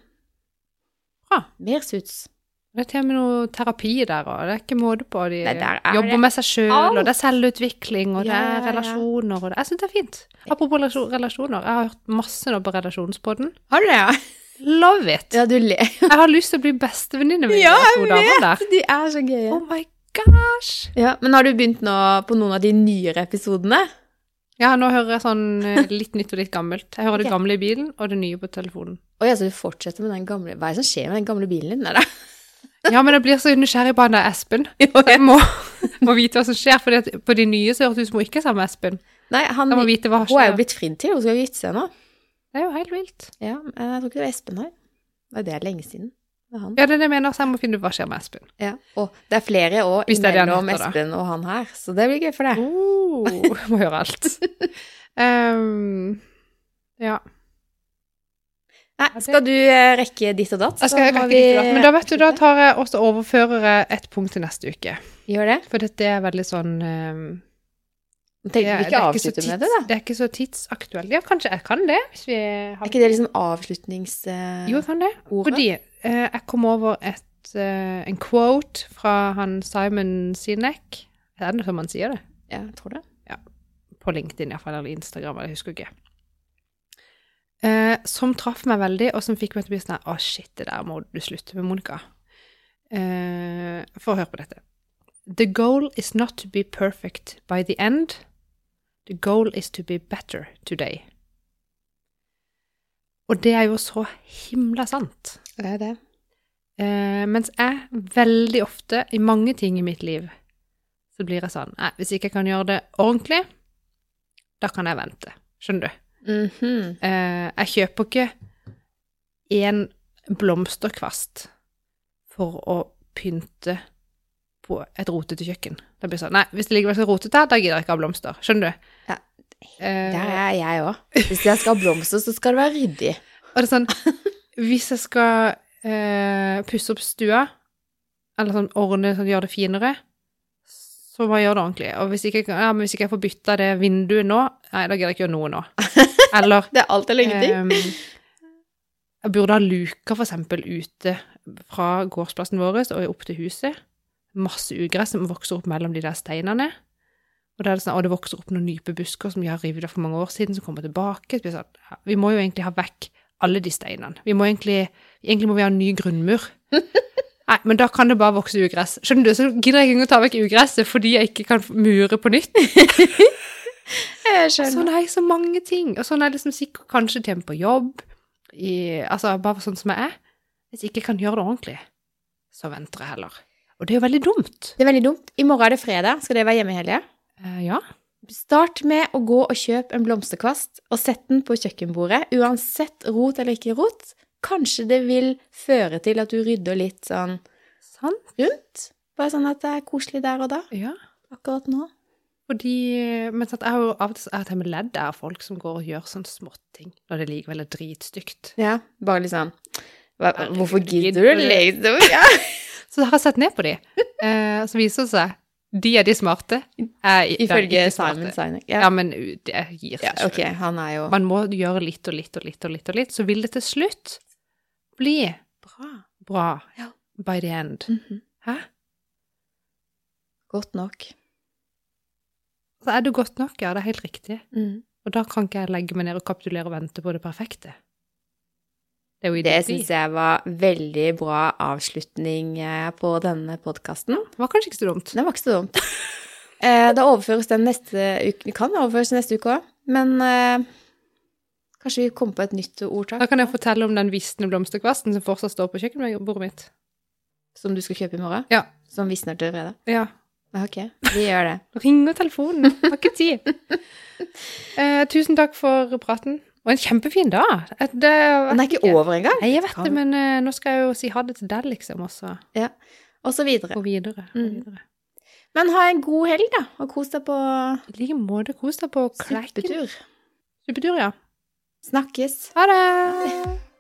Speaker 2: Bra.
Speaker 1: Mer suits.
Speaker 2: Det er til og med noe terapi der, og det er ikke måte på. De
Speaker 1: Nei, der er
Speaker 2: jobber
Speaker 1: det
Speaker 2: med seg sjøl, og det er selvutvikling, og det
Speaker 1: Ja,
Speaker 2: er
Speaker 1: ja, ja.
Speaker 2: relasjoner, og det Jeg syns det er fint. Apropos relasjon- relasjoner, jeg har hørt masse nå på relasjonspodden.
Speaker 1: Har du det, ja?
Speaker 2: Love it!
Speaker 1: Ja, du ler.
Speaker 2: Jeg har lyst til å bli bestevenninne med
Speaker 1: Ja,
Speaker 2: de to damene der.
Speaker 1: De er så gøye.
Speaker 2: Oh my gosh!
Speaker 1: Ja, men har du begynt nå på noen av de nyere episodene?
Speaker 2: Ja, nå hører jeg sånn eh, litt nytt og litt gammelt. Jeg hører det
Speaker 1: Ok.
Speaker 2: gamle i bilen, og det nye på telefonen.
Speaker 1: Å ja, så du fortsetter med den gamle Hva er det som skjer med den gamle bilen din? Nei da.
Speaker 2: Ja, men jeg blir så nysgjerrig på han der Espen. Så jeg må, må vite hva som skjer, for på de nye så høres det ut som hun ikke er sammen med Espen.
Speaker 1: Nei, han,
Speaker 2: Jeg må vite hva som
Speaker 1: hun er jo
Speaker 2: skjer.
Speaker 1: blitt fridd til, hun skal jo gifte seg nå.
Speaker 2: Det er jo helt vilt.
Speaker 1: Ja, men jeg tror ikke det var Espen her. Nei, det er lenge siden. Det er han.
Speaker 2: Ja, det er det jeg mener, så jeg må finne ut hva som skjer med Espen.
Speaker 1: Ja. Og det er flere år
Speaker 2: Hvis det er det han
Speaker 1: mellom
Speaker 2: heter, da.
Speaker 1: Espen og han her, så det blir gøy for deg.
Speaker 2: Oh, må høre alt. Ehm, ja.
Speaker 1: Nei, skal du eh, rekke ditt og datt,
Speaker 2: Jeg
Speaker 1: må
Speaker 2: skal rekke litt da. Men da vet du, da tar jeg også overfører jeg et punkt til neste uke.
Speaker 1: Gjør det.
Speaker 2: For dette er veldig sånn ehm,
Speaker 1: Tenk, vi ikke
Speaker 2: så
Speaker 1: avslutte med det, da.
Speaker 2: tids- det er ikke så tidsaktuelt. Ja, kanskje jeg kan det. Hvis vi
Speaker 1: Er
Speaker 2: har...
Speaker 1: ikke det liksom avslutnings... eh,
Speaker 2: Jo, jeg kan det.
Speaker 1: ordet?
Speaker 2: Fordi eh, jeg kom over et, eh, en quote fra han Simon Sinek. Er det som han sier det?
Speaker 1: Ja, jeg tror det.
Speaker 2: På LinkedIn i hvert fall, eller Instagram, eller jeg husker ikke. Eh, som traff meg veldig, og som fikk meg til å bli sånn her, Å, shit, det der må du slutte med, Monica. Eh, for å høre på dette. The goal is not to be perfect by the end. The goal is to be better today. Og det er jo så himla sant.
Speaker 1: Det er det.
Speaker 2: Eh, mens jeg veldig ofte, i mange ting i mitt liv, så blir jeg sånn Nei, hvis ikke jeg kan gjøre det ordentlig, da kan jeg vente. Skjønner du?
Speaker 1: Mhm.
Speaker 2: Eh, jeg kjøper ikke én blomsterkvast for å pynte på et rotete kjøkken. Da blir det sånn Nei, hvis det likevel skal rotete her, da gidder jeg ikke ha blomster. Skjønner du?
Speaker 1: Ja.
Speaker 2: Eh,
Speaker 1: Der er jeg òg. Hvis jeg skal ha blomster, så skal det være ryddig.
Speaker 2: Og det er sånn Hvis jeg skal eh, pusse opp stua, eller sånn ordne sånn, gjøre det finere, så må jeg gjøre det ordentlig. Og hvis ikke, jeg kan- ja, men hvis ikke jeg får bytta det vinduet nå, nei, da gidder jeg ikke gjøre noe nå. Eller
Speaker 1: Det er alt eller ingenting.
Speaker 2: eh, jeg burde ha luka for eksempel ute fra gårdsplassen vår og opp til huset. masse ugress som vokser opp mellom de der steinene. Og det er det sånn, og det vokser opp noen nype busker som de har revet av for mange år siden, som kommer tilbake. Så blir det sånn, ja, vi må jo egentlig ha vekk alle de steinene. Vi må egentlig, egentlig må vi ha en ny grunnmur. Nei, men da kan det bare vokse ugress. Skjønner du, så gidder jeg ikke engang å ta vekk ugresset fordi jeg ikke kan mure på nytt.
Speaker 1: Jeg
Speaker 2: Sånn er jeg så mange ting. Og sånn er det som sikkert kanskje til en på jobb. I, altså bare sånn som jeg er. Hvis jeg ikke kan gjøre det ordentlig, så venter jeg heller. Og det er jo veldig dumt.
Speaker 1: Det er veldig dumt. I morgen er det fredag. Skal dere være hjemme i helga?
Speaker 2: Eh, ja.
Speaker 1: Start med å gå og kjøpe en blomsterkvast og sett den på kjøkkenbordet, uansett rot eller ikke rot. Kanskje det vil føre til at du rydder litt sånn
Speaker 2: Sant?
Speaker 1: rundt. Bare sånn at det er koselig der og da,
Speaker 2: Ja.
Speaker 1: akkurat nå.
Speaker 2: Fordi Men sant, jeg har jo av og til så- jeg har med ledd av folk som går og gjør sånne småting når det likevel er dritstygt.
Speaker 1: Ja, bare litt sånn hva,
Speaker 2: Herregud,
Speaker 1: Hvorfor gidder
Speaker 2: gidder
Speaker 1: du
Speaker 2: du?
Speaker 1: liksom? Ja.
Speaker 2: Så da har jeg sett ned på de. Eh, så viser det seg de er de smarte. Jeg er
Speaker 1: Ifølge
Speaker 2: ikke
Speaker 1: Simon
Speaker 2: smarte.
Speaker 1: Sinek.
Speaker 2: Ja,
Speaker 1: Ja.
Speaker 2: men u- det gir
Speaker 1: ja,
Speaker 2: seg selv.
Speaker 1: ok, han er jo
Speaker 2: Man må gjøre litt og litt og litt og litt, og litt så vil det til slutt bli
Speaker 1: bra.
Speaker 2: bra
Speaker 1: Ja.
Speaker 2: by the end.
Speaker 1: Mhm.
Speaker 2: Hæ?
Speaker 1: Godt nok.
Speaker 2: Så er det godt nok, ja, det er helt riktig.
Speaker 1: Mm.
Speaker 2: Og da kan ikke jeg legge meg ned og kapitulere og vente på det perfekte. Det er jo
Speaker 1: Det
Speaker 2: idioti.
Speaker 1: syns jeg var veldig bra avslutning eh, på denne podkasten.
Speaker 2: Det var kanskje ikke så dumt.
Speaker 1: Det var ikke så dumt. Eh, Da overføres den neste uke. Vi kan overføres til neste uke òg, men eh, kanskje vi kommer på et nytt
Speaker 2: Da
Speaker 1: ordtak
Speaker 2: kan jeg fortelle om den visne blomsterkvasten som fortsatt står på kjøkkenbordet mitt.
Speaker 1: som du skal kjøpe i morgen?
Speaker 2: Ja.
Speaker 1: Som visner til fredag?
Speaker 2: Ja.
Speaker 1: Ja, Ok, vi gjør det.
Speaker 2: Ringer telefonen. Har ikke tid. Eh, tusen takk for praten. Og en kjempefin dag. Eh, Det
Speaker 1: Den er ikke over engang.
Speaker 2: Nei, jeg vet det, men eh, nå skal jeg jo si ha det til deg, liksom, og så
Speaker 1: Og så videre.
Speaker 2: gå videre. gå
Speaker 1: Mm.
Speaker 2: videre.
Speaker 1: Men ha en god helg, da, og kos deg på
Speaker 2: I like måte, kos deg på klekken.
Speaker 1: suppetur.
Speaker 2: Suppetur, ja.
Speaker 1: Snakkes.
Speaker 2: Ha det!